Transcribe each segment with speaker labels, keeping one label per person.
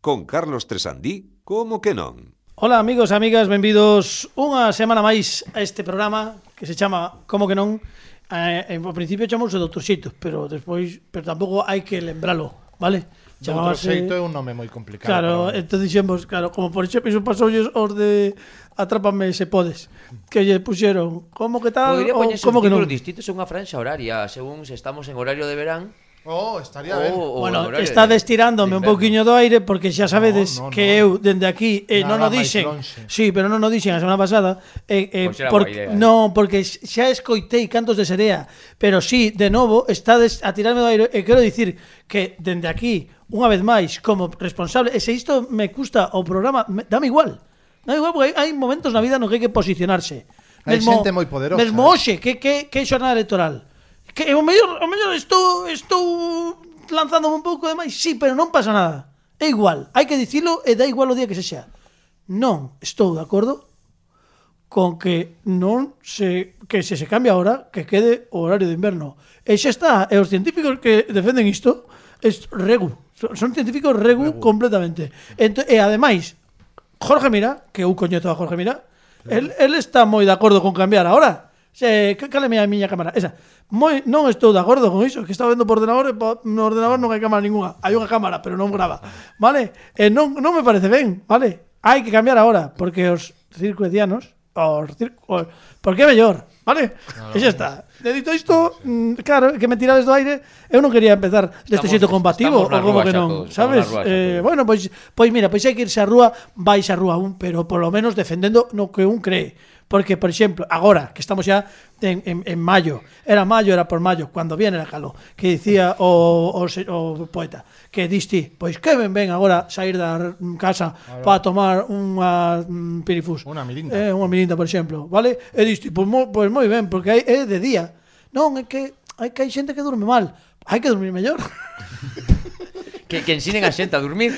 Speaker 1: con Carlos Tresandí, como que non?
Speaker 2: Ola amigos e amigas, benvidos unha semana máis a este programa que se chama Como que non eh, en, Ao principio chamouse Doutor Xeito Pero despois, pero tampouco hai que lembralo Vale?
Speaker 3: Doutor Xeito é un nome moi complicado.
Speaker 2: Claro,
Speaker 3: pero...
Speaker 2: entón dixemos, claro, como por exemplo iso pasoulles os de Atrápame se podes, que lle puxeron como que tal
Speaker 4: Podría
Speaker 2: ou
Speaker 4: poñerse
Speaker 2: como
Speaker 4: un
Speaker 2: que non.
Speaker 4: título distinto a unha franxa horaria, según se estamos en horario de verán
Speaker 3: Oh, estaría ben.
Speaker 4: ou, ou en
Speaker 2: Bueno,
Speaker 4: horario de-
Speaker 2: está destirándome
Speaker 4: de
Speaker 2: un
Speaker 4: inverno.
Speaker 2: pouquiño do aire porque xa sabedes
Speaker 3: No, no,
Speaker 2: que
Speaker 3: no.
Speaker 2: eu dende aquí eh, non
Speaker 3: Nada
Speaker 2: o dixen.
Speaker 3: máis lonxe.
Speaker 2: Sí, pero non o dixen a semana pasada, eh, eh
Speaker 4: Pois era
Speaker 2: por-
Speaker 4: boa idea, eh.
Speaker 2: non, porque x- xa escoitei cantos de serea, pero sí, de novo estades a tirarme do aire e quero dicir que dende aquí, unha vez máis, como responsable, e se isto me custa o programa, me, dame igual. Dame igual porque hai, hai momentos na vida no que hai que posicionarse.
Speaker 3: Hai xente moi poderosa,
Speaker 2: Mesmo
Speaker 3: eh.
Speaker 2: hoxe, que, que, que xornada electoral. Que o mellor, o mellor estou, estou lanzándome un pouco de máis, sí, pero non pasa nada. É igual, hai que dicilo e dá igual o día que se xa. Non estou de acordo con que non se que se se cambia ahora que quede o horario de inverno. E xa está, e os científicos que defenden isto es regu, son son científicos regu, completamente. Ento, e ademais, Jorge Mira, que eu coñezo a Jorge Mira, el, el está moi de acordo con cambiar ahora. Se, ca- cale a miña cámara, esa. Moi, non estou de acordo con iso, que estaba vendo por ordenador e po- no ordenador non hai cámara ninguna. Hai unha cámara, pero non grava. Vale? E non, non me parece ben, vale? Hai que cambiar ahora, porque os circuedianos, os circos, porque é mellor, vale? E xa está. E dito isto, mm, claro, que me tirades do aire, eu non quería empezar
Speaker 4: Estamos-
Speaker 2: deste xeito combativo,
Speaker 4: estamos
Speaker 2: ou
Speaker 4: na
Speaker 2: como
Speaker 4: rúa
Speaker 2: que
Speaker 4: xa
Speaker 2: non,
Speaker 4: todos,
Speaker 2: sabes?
Speaker 4: estamos na rúa xa
Speaker 2: Eh,
Speaker 4: todos.
Speaker 2: bueno, Bueno, pois pois mira, pois hai que irse á rúa, vais á rúa un, pero polo menos defendendo no que un cree. Porque, por exemplo, agora, que estamos xa en, en, en maio, era maio, era por maio, cando viene era calor, que dicía o, o, se- o poeta, que diste, pois que ben ben agora sair da mm, casa para tomar unha mm, pirifús.
Speaker 3: Unha mirinda.
Speaker 2: Eh, unha mirinda, por exemplo, vale? E diste, pois, mo, pois moi ben, porque hai, é de día. Non, é que hai que hai xente que durme mal, hai que dormir mellor.
Speaker 4: Que, que ensinen a xente a dormir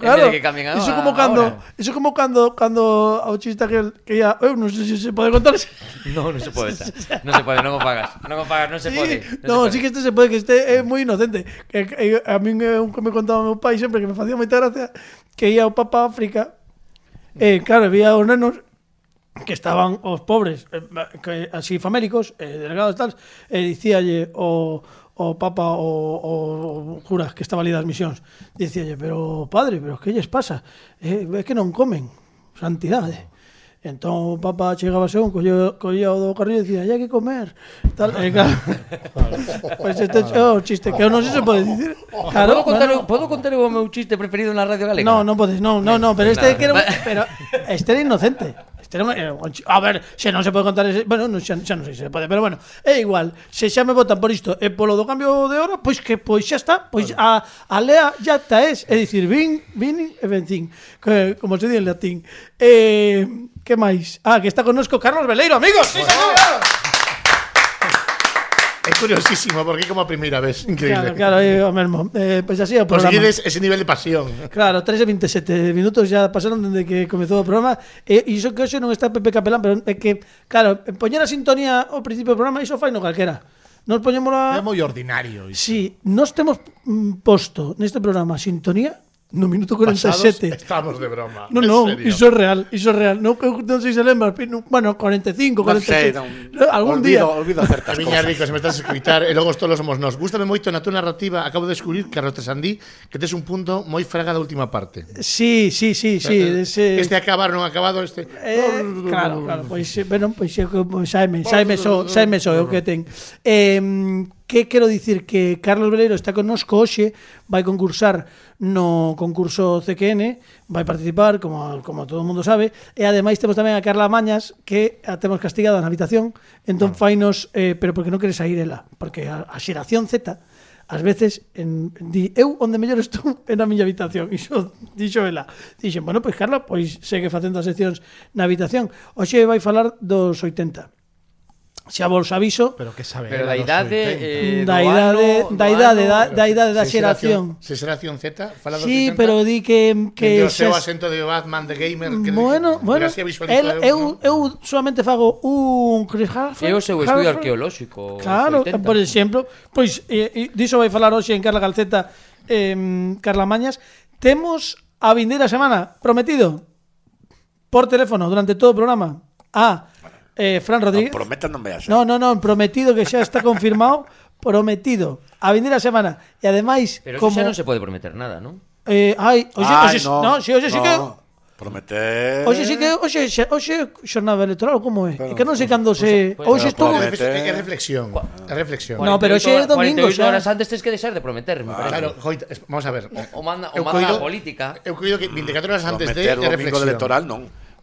Speaker 4: en vez de
Speaker 2: claro.
Speaker 4: que cambien a,
Speaker 2: Iso
Speaker 4: a-
Speaker 2: como
Speaker 4: a
Speaker 2: cando,
Speaker 4: hora.
Speaker 2: iso como cando cando ao chista que que "Eh, ia, eu non sei se se pode contar. Sí,
Speaker 4: No, non se pode esa. Non se pode, non o pagas Non o pagas, non se pode
Speaker 2: no,
Speaker 4: se
Speaker 2: sí que este se pode que este é moi inocente. Que, que- a min é un que me contaba meu pai sempre que me facía moita gracia que ia ao Papa África. Eh, claro, vía os nenos que estaban os pobres, eh, que, así faméricos, eh, delgados tal, e dicíalle o, o Papa o, o, o cura que estaba ali das misións, dicíalle, pero padre, pero que lles pasa? Eh, é que non comen, santidade. Entón o Papa chegaba a un, collía, collía o do carrillo e dicía, hai que comer. Tal, e claro, pois este é o chiste, que eu non sei se pode dicir. Claro,
Speaker 4: Podo contar,
Speaker 2: claro.
Speaker 4: podo contar o meu chiste preferido na radio galega?
Speaker 2: No, no podéis, no, no, no, pero este
Speaker 4: Nada.
Speaker 2: que era un-
Speaker 4: Va-
Speaker 2: pero este era inocente. Este era un- era un chi- a ver, se non se pode contar ese, bueno, non, xa, xa non sei se pode, pero bueno, é igual. Se xa me votan por isto e polo do cambio de hora, pois que pois xa está, pois a a lea ya está es, é dicir, vin, vin e vencín, que, como se di en latín. Eh, que máis? Ah, que está connosco Carlos Veleiro, amigos. Sí, señor.
Speaker 3: É curiosísimo, porque é como a primeira vez.
Speaker 2: Claro,
Speaker 3: Increíble.
Speaker 2: claro, é o mesmo. Eh, pois así é o programa.
Speaker 3: Conseguides ese nivel de pasión.
Speaker 2: Claro, 13 e 27 minutos ya pasaron dende que comezou o programa Eh, E e iso que hoxe non está Pepe Capelán Pero é que, claro, poñer a sintonía ao principio do programa Iso fai no calquera Nos poñemos
Speaker 3: É
Speaker 2: a...
Speaker 3: moi ordinario. isto.
Speaker 2: Si, nos temos mm, posto neste programa sintonía No minuto 47
Speaker 3: Pasados, estamos de broma.
Speaker 2: No,
Speaker 3: En
Speaker 2: no,
Speaker 3: serio.
Speaker 2: iso é real, iso é real Non, eu non sei se lembra, pero, bueno, 45,
Speaker 5: Non sei,
Speaker 2: 46
Speaker 5: non.
Speaker 2: Algún
Speaker 5: olvido,
Speaker 2: día
Speaker 5: Olvido certas
Speaker 3: A
Speaker 5: cousas.
Speaker 3: miña rico, se me estás a eh, escutar, e logo os tolos somos nós. Gústame moito na túa narrativa, acabo de descubrir, Carlos Tresandí, que tes un punto moi fraga da última parte. Eh,
Speaker 2: Sí, sí, sí, sí ese...
Speaker 3: Este acabar non acabado, este...
Speaker 2: Eh, claro, claro, pois eh, bueno, pois eu como saime, saime só, saime só é o que ten. Eh, que quero dicir que Carlos Beleiro está connosco hoxe, vai concursar no concurso CQN, vai participar, como como todo o mundo sabe, e ademais temos tamén a Carla Mañas que a temos castigada na habitación, entón fainos, eh, pero porque non quere sair ela, porque a, a xeración Z Ás veces en, di, eu onde mellor estou é na miña habitación Iso dixo ela Dixen, bueno, pois Carla, pois segue facendo as seccións na habitación Oxe vai falar dos 80 Xa vos aviso
Speaker 3: Pero que sabe.
Speaker 4: Pero da
Speaker 3: era dos
Speaker 4: idade eh,
Speaker 3: 80.
Speaker 2: Da
Speaker 4: do
Speaker 2: idade,
Speaker 4: ano,
Speaker 2: da
Speaker 4: do
Speaker 2: idade,
Speaker 4: ano,
Speaker 2: da, da idade da
Speaker 3: Se
Speaker 2: xeración
Speaker 3: Se xeración Z, fala dos
Speaker 2: Sí,
Speaker 3: 80,
Speaker 2: pero di que,
Speaker 3: Que
Speaker 2: que
Speaker 3: o seu
Speaker 2: xas-
Speaker 3: acento de Batman de gamer que
Speaker 2: Bueno,
Speaker 3: dixo, pero
Speaker 2: bueno,
Speaker 3: así a visualizar
Speaker 2: el,
Speaker 3: eu,
Speaker 2: eu, eu solamente fago un Chris Hardford
Speaker 4: É o seu estudio
Speaker 2: Hardford.
Speaker 4: arqueolóxico
Speaker 2: Claro,
Speaker 4: 80.
Speaker 2: por exemplo, pois eh, eh, diso vai falar hoxe en Carla Calceta eh, Carla Mañas. Temos a vindeira semana, prometido, por teléfono, durante todo o programa, a eh, Fran Rodríguez.
Speaker 5: Prometan non veas.
Speaker 2: No, no, no, prometido que xa está confirmado, prometido, a vindeira semana. E ademais,
Speaker 4: Pero eso
Speaker 2: como...
Speaker 4: xa non se pode prometer nada, non?
Speaker 2: Eh, ai, oxe,
Speaker 5: Ai,
Speaker 2: oxe, no, Eh. si, oxe, sí que...
Speaker 5: Prometer.
Speaker 2: Oxe, sí que, oxe, xa- oxe, xornada electoral, ou como é? É que non sei cando se...
Speaker 4: Pois,
Speaker 2: Oxe
Speaker 5: pero
Speaker 2: estuvo...
Speaker 5: pode-
Speaker 3: Es es reflexión. Es reflexión.
Speaker 2: No,
Speaker 4: 48
Speaker 2: pero hoxe é
Speaker 4: horas-
Speaker 2: domingo,
Speaker 4: 48
Speaker 2: xa.
Speaker 4: horas antes tens que deixar de prometer, me parece.
Speaker 3: Claro, Joita, es- vamos a ver.
Speaker 4: O- o manda- o
Speaker 3: Eu
Speaker 4: manda
Speaker 3: coido-
Speaker 4: a política.
Speaker 3: Eu cuido que 24 horas antes de,
Speaker 5: Prometer o
Speaker 3: de
Speaker 5: domingo
Speaker 3: reflexión. pues,
Speaker 5: electoral non.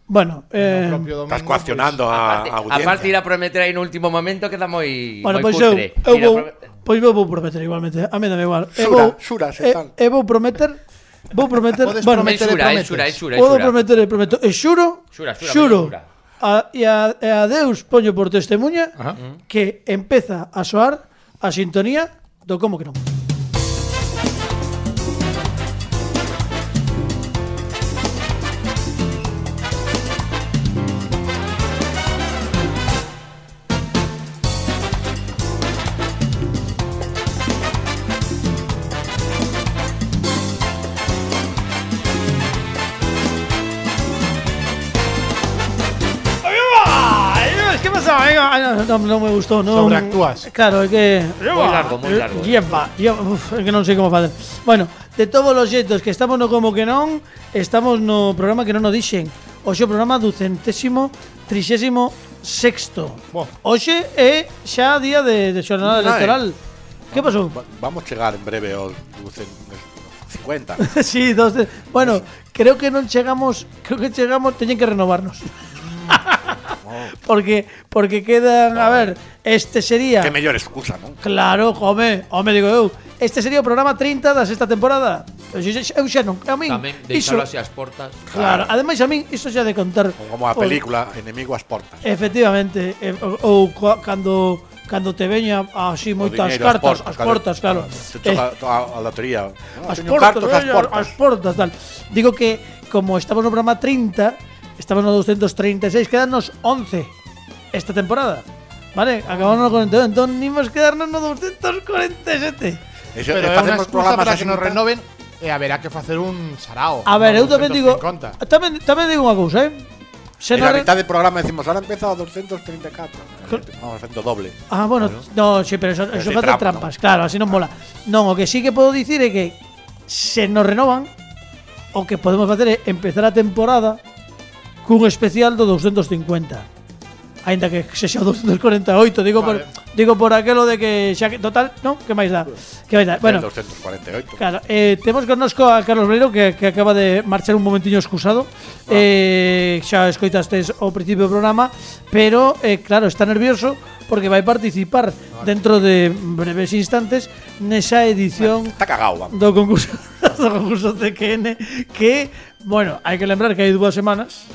Speaker 2: Bueno, eh,
Speaker 3: No, propio domingo,
Speaker 5: Estás coaccionando a,
Speaker 4: Aparte,
Speaker 5: a audiencia.
Speaker 4: aparte ir a prometer aí no último momento queda moi
Speaker 2: bueno,
Speaker 4: moi
Speaker 2: pois eu,
Speaker 4: cutre.
Speaker 2: eu
Speaker 4: Ir a
Speaker 2: vou,
Speaker 4: prometer-
Speaker 2: pois eu vou prometer igualmente, a mí dame igual. Eu
Speaker 5: Xura,
Speaker 2: vou,
Speaker 5: xuras e
Speaker 2: e,
Speaker 5: tal.
Speaker 2: e vou prometer, vou prometer,
Speaker 3: Podes
Speaker 2: bueno,
Speaker 3: prometer
Speaker 4: El xura,
Speaker 3: e
Speaker 4: el
Speaker 3: prometes.
Speaker 4: xura, el xura, el
Speaker 2: Podo
Speaker 4: xura.
Speaker 2: prometer e prometo, e xuro,
Speaker 4: Xura, xura,
Speaker 2: xuro,
Speaker 4: xura.
Speaker 2: a, e, a, e a Deus poño por testemunha
Speaker 3: Ajá.
Speaker 2: que empeza a soar a sintonía do como que non. ¿Qué pasa? Venga, ah, no, no, no me gustó, no.
Speaker 3: Sobreactúas.
Speaker 2: Claro, é que Eh,
Speaker 4: Moi largo, moi largo. eh.
Speaker 2: Lleva, lleva, uf, é que non sei como facer. Bueno, de todos os xeitos que estamos no como que non, estamos no programa que non o dixen. Hoxe o programa do centésimo trixésimo sexto.
Speaker 3: Bo.
Speaker 2: Hoxe é xa día de, de xornada
Speaker 5: Ai.
Speaker 2: electoral. Que pasou?
Speaker 5: Va- Vamos chegar en breve aos 50.
Speaker 2: sí, dos de- Bueno, creo que non chegamos, creo que chegamos, teñen que renovarnos. porque porque quedan, a ver, este sería
Speaker 5: Que mellor excusa, non?
Speaker 2: Claro, home, home, digo eu Este sería o programa 30 da sexta temporada Eu xa, eu xa non, a min
Speaker 4: Tamén
Speaker 2: iso,
Speaker 4: deixalo así as portas.
Speaker 2: Claro, ademais a min iso xa de contar
Speaker 5: Como a
Speaker 2: por-
Speaker 5: película Enemigo ás portas.
Speaker 2: Efectivamente, eh, ou, ou cua- cando cando te veña así
Speaker 5: O
Speaker 2: moitas
Speaker 5: diñeiro ás
Speaker 2: cartas,
Speaker 5: claro.
Speaker 2: as
Speaker 5: Ah,
Speaker 2: portas, claro.
Speaker 5: Se
Speaker 2: Eh,
Speaker 5: toca a, a lotería. Ah,
Speaker 2: as
Speaker 5: teño
Speaker 2: portas,
Speaker 5: cartos ás
Speaker 2: eh,
Speaker 5: portas.
Speaker 2: as portas, tal. Digo que como estamos no programa 30, estamos no 236, quedarnos 11 esta temporada. Vale, acabamos no 42, entón nimos quedarnos no 247.
Speaker 5: Ese-
Speaker 6: pues, Pero é
Speaker 5: facemos
Speaker 6: unha excusa
Speaker 5: programas
Speaker 6: para
Speaker 5: así
Speaker 6: que nos
Speaker 5: tan-
Speaker 6: renoven e haberá que facer un sarao.
Speaker 2: A ver, eu tamén digo,
Speaker 6: 250.
Speaker 2: tamén tamén digo unha cousa, eh? Se
Speaker 5: En la
Speaker 2: non-
Speaker 5: mitad del programa decimos, ahora empieza a 234. Eh, Vamos haciendo doble.
Speaker 2: Ah, bueno, no, sí, pero eso,
Speaker 5: sí,
Speaker 2: eso hace
Speaker 5: trampa,
Speaker 2: trampas, claro, así non mola. Non, o que sí que podo dicir é que se nos renovan, o que podemos facer é empezar a temporada cun especial do 250. Ainda que se xa o 248, digo
Speaker 6: Vale.
Speaker 2: por digo por aquelo de que xa que total, non, que máis dá. Que máis dá. Bueno,
Speaker 5: El 248.
Speaker 2: Claro, eh, temos connosco a Carlos Breiro que, que acaba de marchar un momentiño excusado eh, Xa escoitastes o principio do programa Pero, eh, claro, está nervioso porque vai participar dentro de breves instantes Nesa edición
Speaker 5: Está cagado, vamos.
Speaker 2: do concurso do concurso CQN Que, bueno, hai que lembrar que hai dúas semanas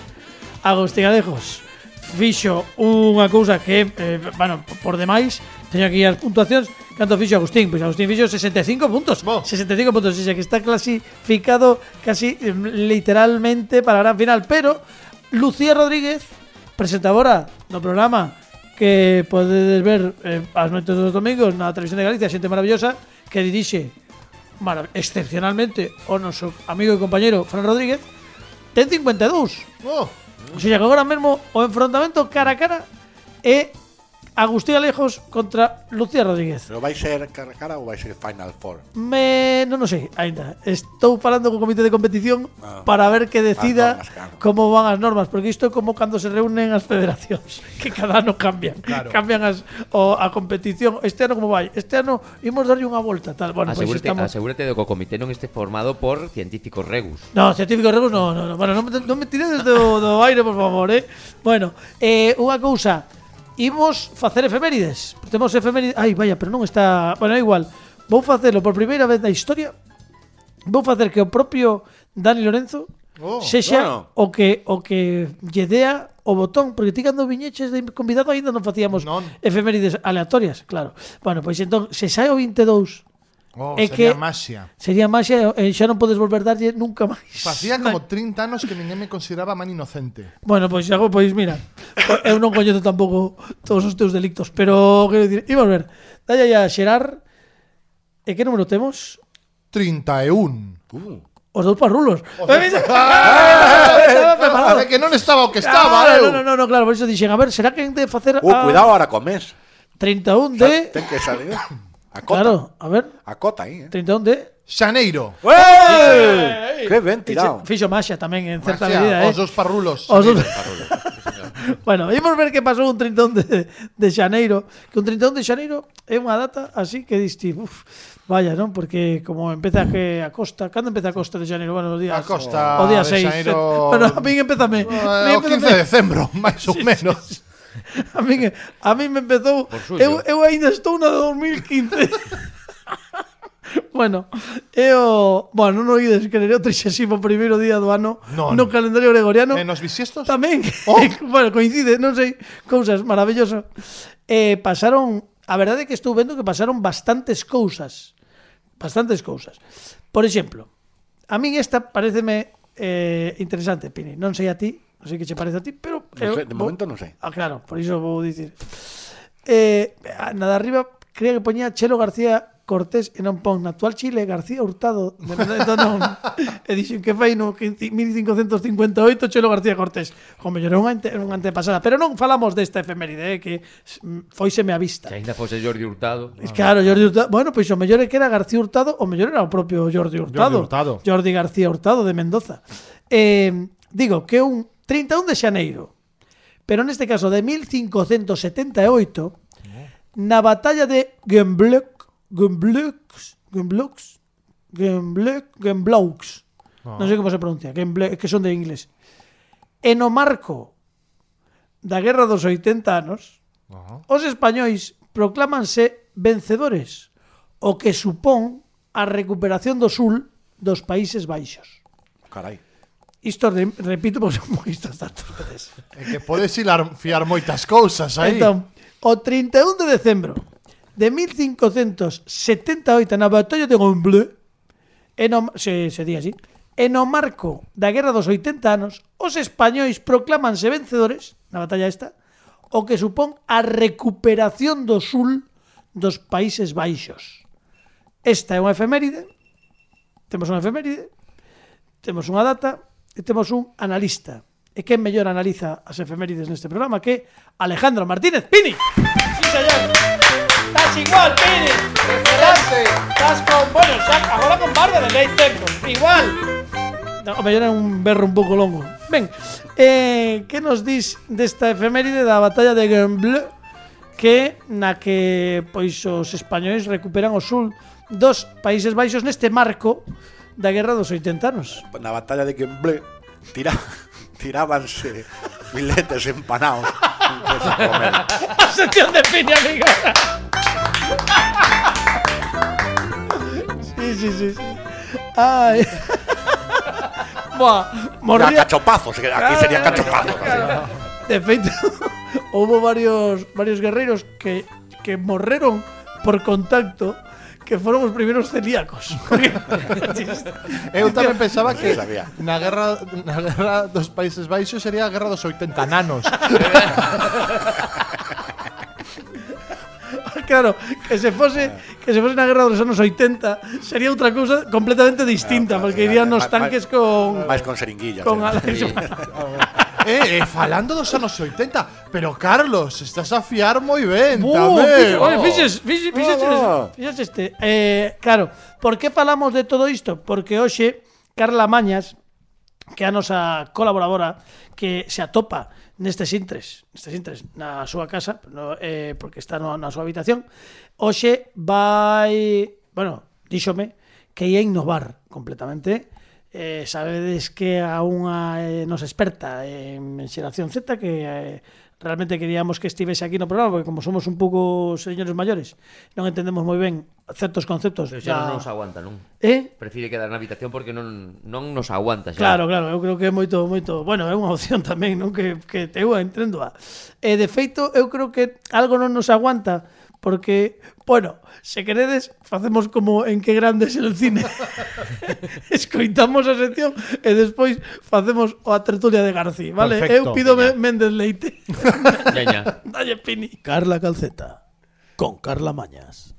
Speaker 2: Agustín Alejos fixo unha cousa que, eh, bueno, por demais, teño aquí as puntuacións, canto fixo Agustín? Pois Agustín fixo 65 puntos.
Speaker 6: Bo.
Speaker 2: 65 puntos, xa que está clasificado casi eh, literalmente para a gran final, pero Lucía Rodríguez, presentadora do programa que podedes ver eh, as noites dos domingos na televisión de Galicia, xente maravillosa, que dirixe marav- excepcionalmente o noso amigo e compañero Fran Rodríguez, ten 52.
Speaker 6: Oh,
Speaker 2: O sea, que agora mesmo o enfrontamento cara a cara é Agustín Alejos contra Lucía Rodríguez.
Speaker 5: ¿Pero vais a ser cara a cara o vais a ser Final Four?
Speaker 2: Ah. Me, non o sei, aínda. Estou falando co comité de competición
Speaker 5: Ah.
Speaker 2: para ver que decida
Speaker 5: normas, claro.
Speaker 2: como van as normas, porque isto é como cando se reúnen as federacións, que cada ano cambian.
Speaker 6: Claro.
Speaker 2: Cambian as o a competición. Este ano como vai? Este ano imos darlle unha volta,
Speaker 5: Ah,
Speaker 2: tal. Bueno, pois
Speaker 4: Asegúrate,
Speaker 2: estamos
Speaker 4: asegúrate de que o comité non este formado por científicos regus.
Speaker 2: No, científicos regos no, no, no. Bueno, non me, non me tiredes do, do aire, por favor, eh. Bueno, eh, unha cousa. Imos facer efemérides. Temos efemérides... Ai, vaya, pero non está... Bueno, é igual. Vou facelo por primeira vez na historia. Vou facer que o propio Dani Lorenzo
Speaker 6: Oh,
Speaker 2: sexa o que o que lle dea o botón, porque ti cando viñeches de convidado aínda non facíamos
Speaker 6: Non.
Speaker 2: efemérides aleatorias, claro. Bueno, pois entón, se sai o 22,
Speaker 6: oh
Speaker 2: É
Speaker 6: é sería que...
Speaker 2: que-
Speaker 6: masia.
Speaker 2: sería máis xa, eh, xa non podes volver darlle nunca máis.
Speaker 6: Facía como 30 anos que ninguén me consideraba man inocente.
Speaker 2: Bueno, pois Iago, pois mira, po- eu non coñezo tampouco todos os teus delictos, pero quero dicir, íbamos ver, dalle aí a xerar, e que número temos?
Speaker 6: 31.
Speaker 5: Uh,
Speaker 2: Os dous parrulos. Estaba preparado.
Speaker 6: Parece Ah, que non estaba o que estaba, eh.
Speaker 2: Ah,
Speaker 6: eu.
Speaker 2: no, no, no, claro, por eso dixen, a ver, será que han de facer
Speaker 7: Uh,
Speaker 2: a
Speaker 7: cuidado ahora con mes.
Speaker 2: 31 de...
Speaker 7: Ten que salir. A cota.
Speaker 2: Claro, a ver,
Speaker 7: A cota aí, eh.
Speaker 2: 31 de...
Speaker 6: Xaneiro.
Speaker 7: ¡Ué! Que ben tirado.
Speaker 2: Fixo Masha tamén, en certa
Speaker 6: Marcia,
Speaker 2: medida, eh.
Speaker 6: Os dos parrulos.
Speaker 2: Os dos- bueno, imos ver que pasou un 31 de, de Xaneiro Que un 31 de Xaneiro é unha data así que diste uf, Vaya, non? Porque como empeza que a costa Cando empeza a costa de Xaneiro? Bueno, os días,
Speaker 6: A costa
Speaker 2: o día
Speaker 6: de
Speaker 2: 6
Speaker 6: Xaneiro-
Speaker 2: Bueno, a min empezame,
Speaker 6: Eh, o 15 de decembro, máis ou menos.
Speaker 2: A min, a min me empezou
Speaker 4: Por suyo.
Speaker 2: eu, eu ainda estou na de 2015 Bueno, é o... Bueno, non o ides, que era o 31 primeiro día do ano
Speaker 6: Non.
Speaker 2: no calendario gregoriano
Speaker 6: Eh, nos bisiestos?
Speaker 2: Tamén.
Speaker 7: Oh.
Speaker 2: bueno, coincide, non sei, cousas maravilloso. Eh, pasaron, a verdade é que estou vendo que pasaron bastantes cousas. Bastantes cousas. Por exemplo, a min esta pareceme eh, interesante, Pini. Non sei a ti, non sei que che parece a ti, pero
Speaker 7: Non sei, de
Speaker 2: vou-
Speaker 7: momento non sei.
Speaker 2: Ah, claro, por iso vou dicir. Eh, nada arriba creía que poñía Chelo García Cortés e non pon na actual Chile García Hurtado de verdade entón non e dixen que fai no 15 1558 Chelo García Cortés como era unha, ante, era unha antepasada pero non falamos desta efeméride eh, que foiseme a vista
Speaker 4: Se ainda fose Jordi Hurtado.
Speaker 2: Es Claro, Jordi Hurtado. Bueno, pois o mellor é que era García Hurtado, o mellor era o propio Jordi Hurtado.
Speaker 6: Jordi Hurtado.
Speaker 2: Jordi García Hurtado de Mendoza. Eh, digo que un 31 de xaneiro, pero neste caso de 1578, na batalla de Gembloux, Gembloux, Gembloux, Gembloux, Gembloux. Non sei como se pronuncia, Gembloux, que son de inglés. E no marco da Guerra dos 80 anos, os españois proclámanse vencedores, o que supón a recuperación do sul dos Países Baixos.
Speaker 7: Carai.
Speaker 2: Isto re- repito porque son moi estos datos. vedes.
Speaker 6: É Eh, que podes hilar, fiar moitas cousas aí.
Speaker 2: Entón, o 31 de decembro de 1578 na batalla de Gomble, en o, se, se di así, en o marco da Guerra dos 80 anos, os españois proclámanse vencedores na batalla esta, o que supón a recuperación do sul dos Países Baixos. Esta é unha efeméride, temos unha efeméride, temos unha data e temos un analista. E quen mellor analiza as efemérides neste programa que Alejandro Martínez Pini. Sí, señor. Estás igual, Pini. Estás con... Bueno, xa- agora con barba de lei tempo. Igual. No, o mellor era un berro un pouco longo. Ben, eh, que nos dis desta efeméride da batalla de Gembloux que na que pois os españois recuperan o sul dos Países Baixos neste marco da guerra dos 80 anos.
Speaker 7: Na batalla de Quemblé tira, tirábanse filetes empanados. Empeza a comer.
Speaker 2: sección de Pini, amigo. Sí, sí, sí. sí. Ay. Buah,
Speaker 7: Era
Speaker 2: mordía.
Speaker 7: cachopazos, que aquí sería cachopazos.
Speaker 2: De feito, houve varios varios guerreiros que que morreron por contacto que foron os primeiros celíacos.
Speaker 6: Eh, Eu tamén pensaba que
Speaker 7: Sí, sabía.
Speaker 6: na guerra na guerra dos Países Baixos sería a guerra dos 80 nanos.
Speaker 2: claro, que se fose que se fose na guerra dos anos 80 sería outra cousa completamente distinta, porque irían nos tanques con
Speaker 7: Máis con seringuillas.
Speaker 2: con
Speaker 7: eh.
Speaker 2: alas.
Speaker 6: eh, eh, falando dos anos 80, pero Carlos, estás a fiar moi ben
Speaker 2: Uh,
Speaker 6: tamén.
Speaker 2: fixo- Oye, fixes, fixes, fixes,
Speaker 7: Bravo.
Speaker 2: fixes este. Eh, claro, por que falamos de todo isto? Porque hoxe Carla Mañas, que é a nosa colaboradora, que se atopa nestes intres, nestes intres na súa casa, no, eh, porque está no, na súa habitación, hoxe vai, bueno, díxome que ia innovar completamente, Eh, sabedes que a unha eh, nos experta en xeración Z que eh, realmente queríamos que estivese aquí no programa porque como somos un pouco señores maiores non entendemos moi ben certos conceptos
Speaker 4: Pero xa
Speaker 2: da-
Speaker 4: non nos aguanta, non?
Speaker 2: eh?
Speaker 4: Prefire quedar na habitación porque non, non nos aguanta xa.
Speaker 2: Claro, claro, eu creo que é moito moito, bueno, é unha opción tamén, non que que eu a entendo a. E de feito eu creo que algo non nos aguanta porque, bueno, se queredes facemos como en que grandes el cine. Escoitamos a sección e despois facemos o a tertulia de Garci, vale?
Speaker 6: Perfecto,
Speaker 2: eu pido Méndez Leite.
Speaker 4: Ya, ya.
Speaker 2: Dalle Pini. Carla Calceta con Carla Mañas.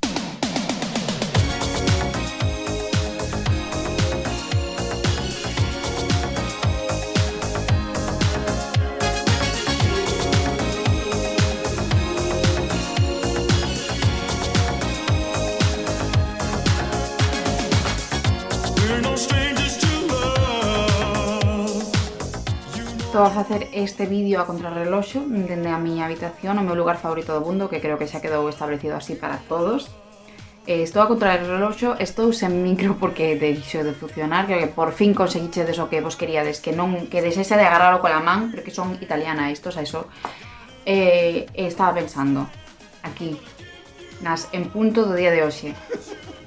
Speaker 8: Estou a facer este vídeo a contrarreloxo dende a miña habitación, o meu lugar favorito do mundo, que creo que xa quedou establecido así para todos. Eh, Estou a contrarreloxo, estou sen micro porque deixo de funcionar, creo que por fin conseguichedes o que vos queríades, que non que desese de agarralo cola man, porque son italiana estos, a eso. Eh, e estaba pensando, aquí, nas en punto do día de hoxe.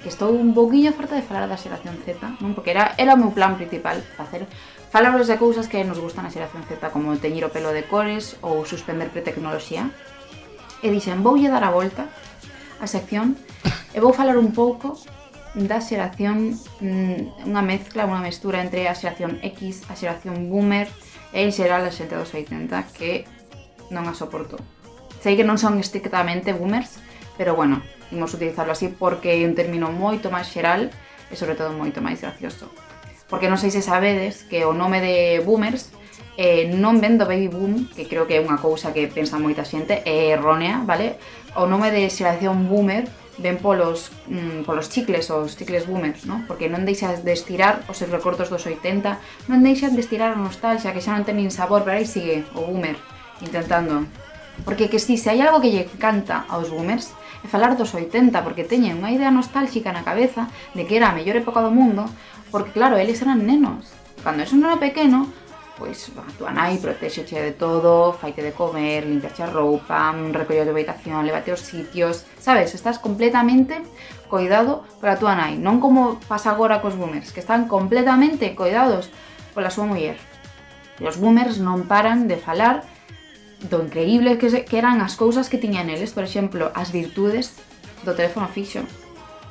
Speaker 8: Que estou un poquinho farta de falar da xeración Z, non? Porque era, era o meu plan principal, facer falarvos de cousas que nos gustan na xeración Z, como teñir o pelo de cores ou suspender pretecnoloxía. E dixen, voulle dar a volta a sección e vou falar un pouco da xeración, mm, unha mezcla, unha mestura entre a xeración X, a xeración Boomer e en xeral a xente dos 80 que non a soporto. Sei que non son estrictamente boomers, pero bueno, imos utilizarlo así porque é un término moito máis xeral e sobre todo moito máis gracioso. Porque non sei se sabedes que o nome de boomers eh, non vendo baby boom, que creo que é unha cousa que pensa moita xente, é errónea, vale? O nome de xeración boomer ven polos, mm, polos chicles, os chicles boomers, no? porque non deixas de estirar os seus recortos dos 80, non deixan de estirar a nostalgia, que xa non ten nin sabor, pero aí sigue o boomer intentando. Porque que si, se hai algo que lle encanta aos boomers, e falar dos 80 porque teñen unha idea nostálxica na cabeza de que era a mellor época do mundo porque claro, eles eran nenos cando es un neno pequeno pois a túa nai protexeche de todo faite de comer, limpiache a roupa recolle a túa habitación, levate os sitios sabes, estás completamente coidado pola túa nai non como pasa agora cos boomers que están completamente coidados pola súa muller e os boomers non paran de falar do increíble que, se- que eran as cousas que tiñan eles, por exemplo, as virtudes do teléfono fixo.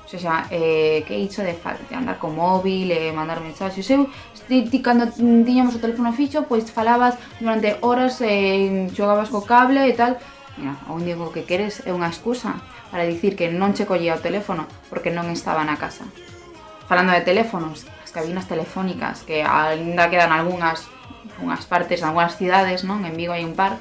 Speaker 8: O sea, eh, que iso de, fal- de andar co móvil, eh, mandar mensaxes, eu, ti, ti, cando mm, tiñamos o teléfono fixo, pois falabas durante horas, eh, xogabas co cable e tal, Mira, o único que queres é unha excusa para dicir que non che collía o teléfono porque non estaba na casa. Falando de teléfonos, as cabinas telefónicas, que ainda quedan algunhas unhas partes, algunhas cidades, non? En Vigo hai un par,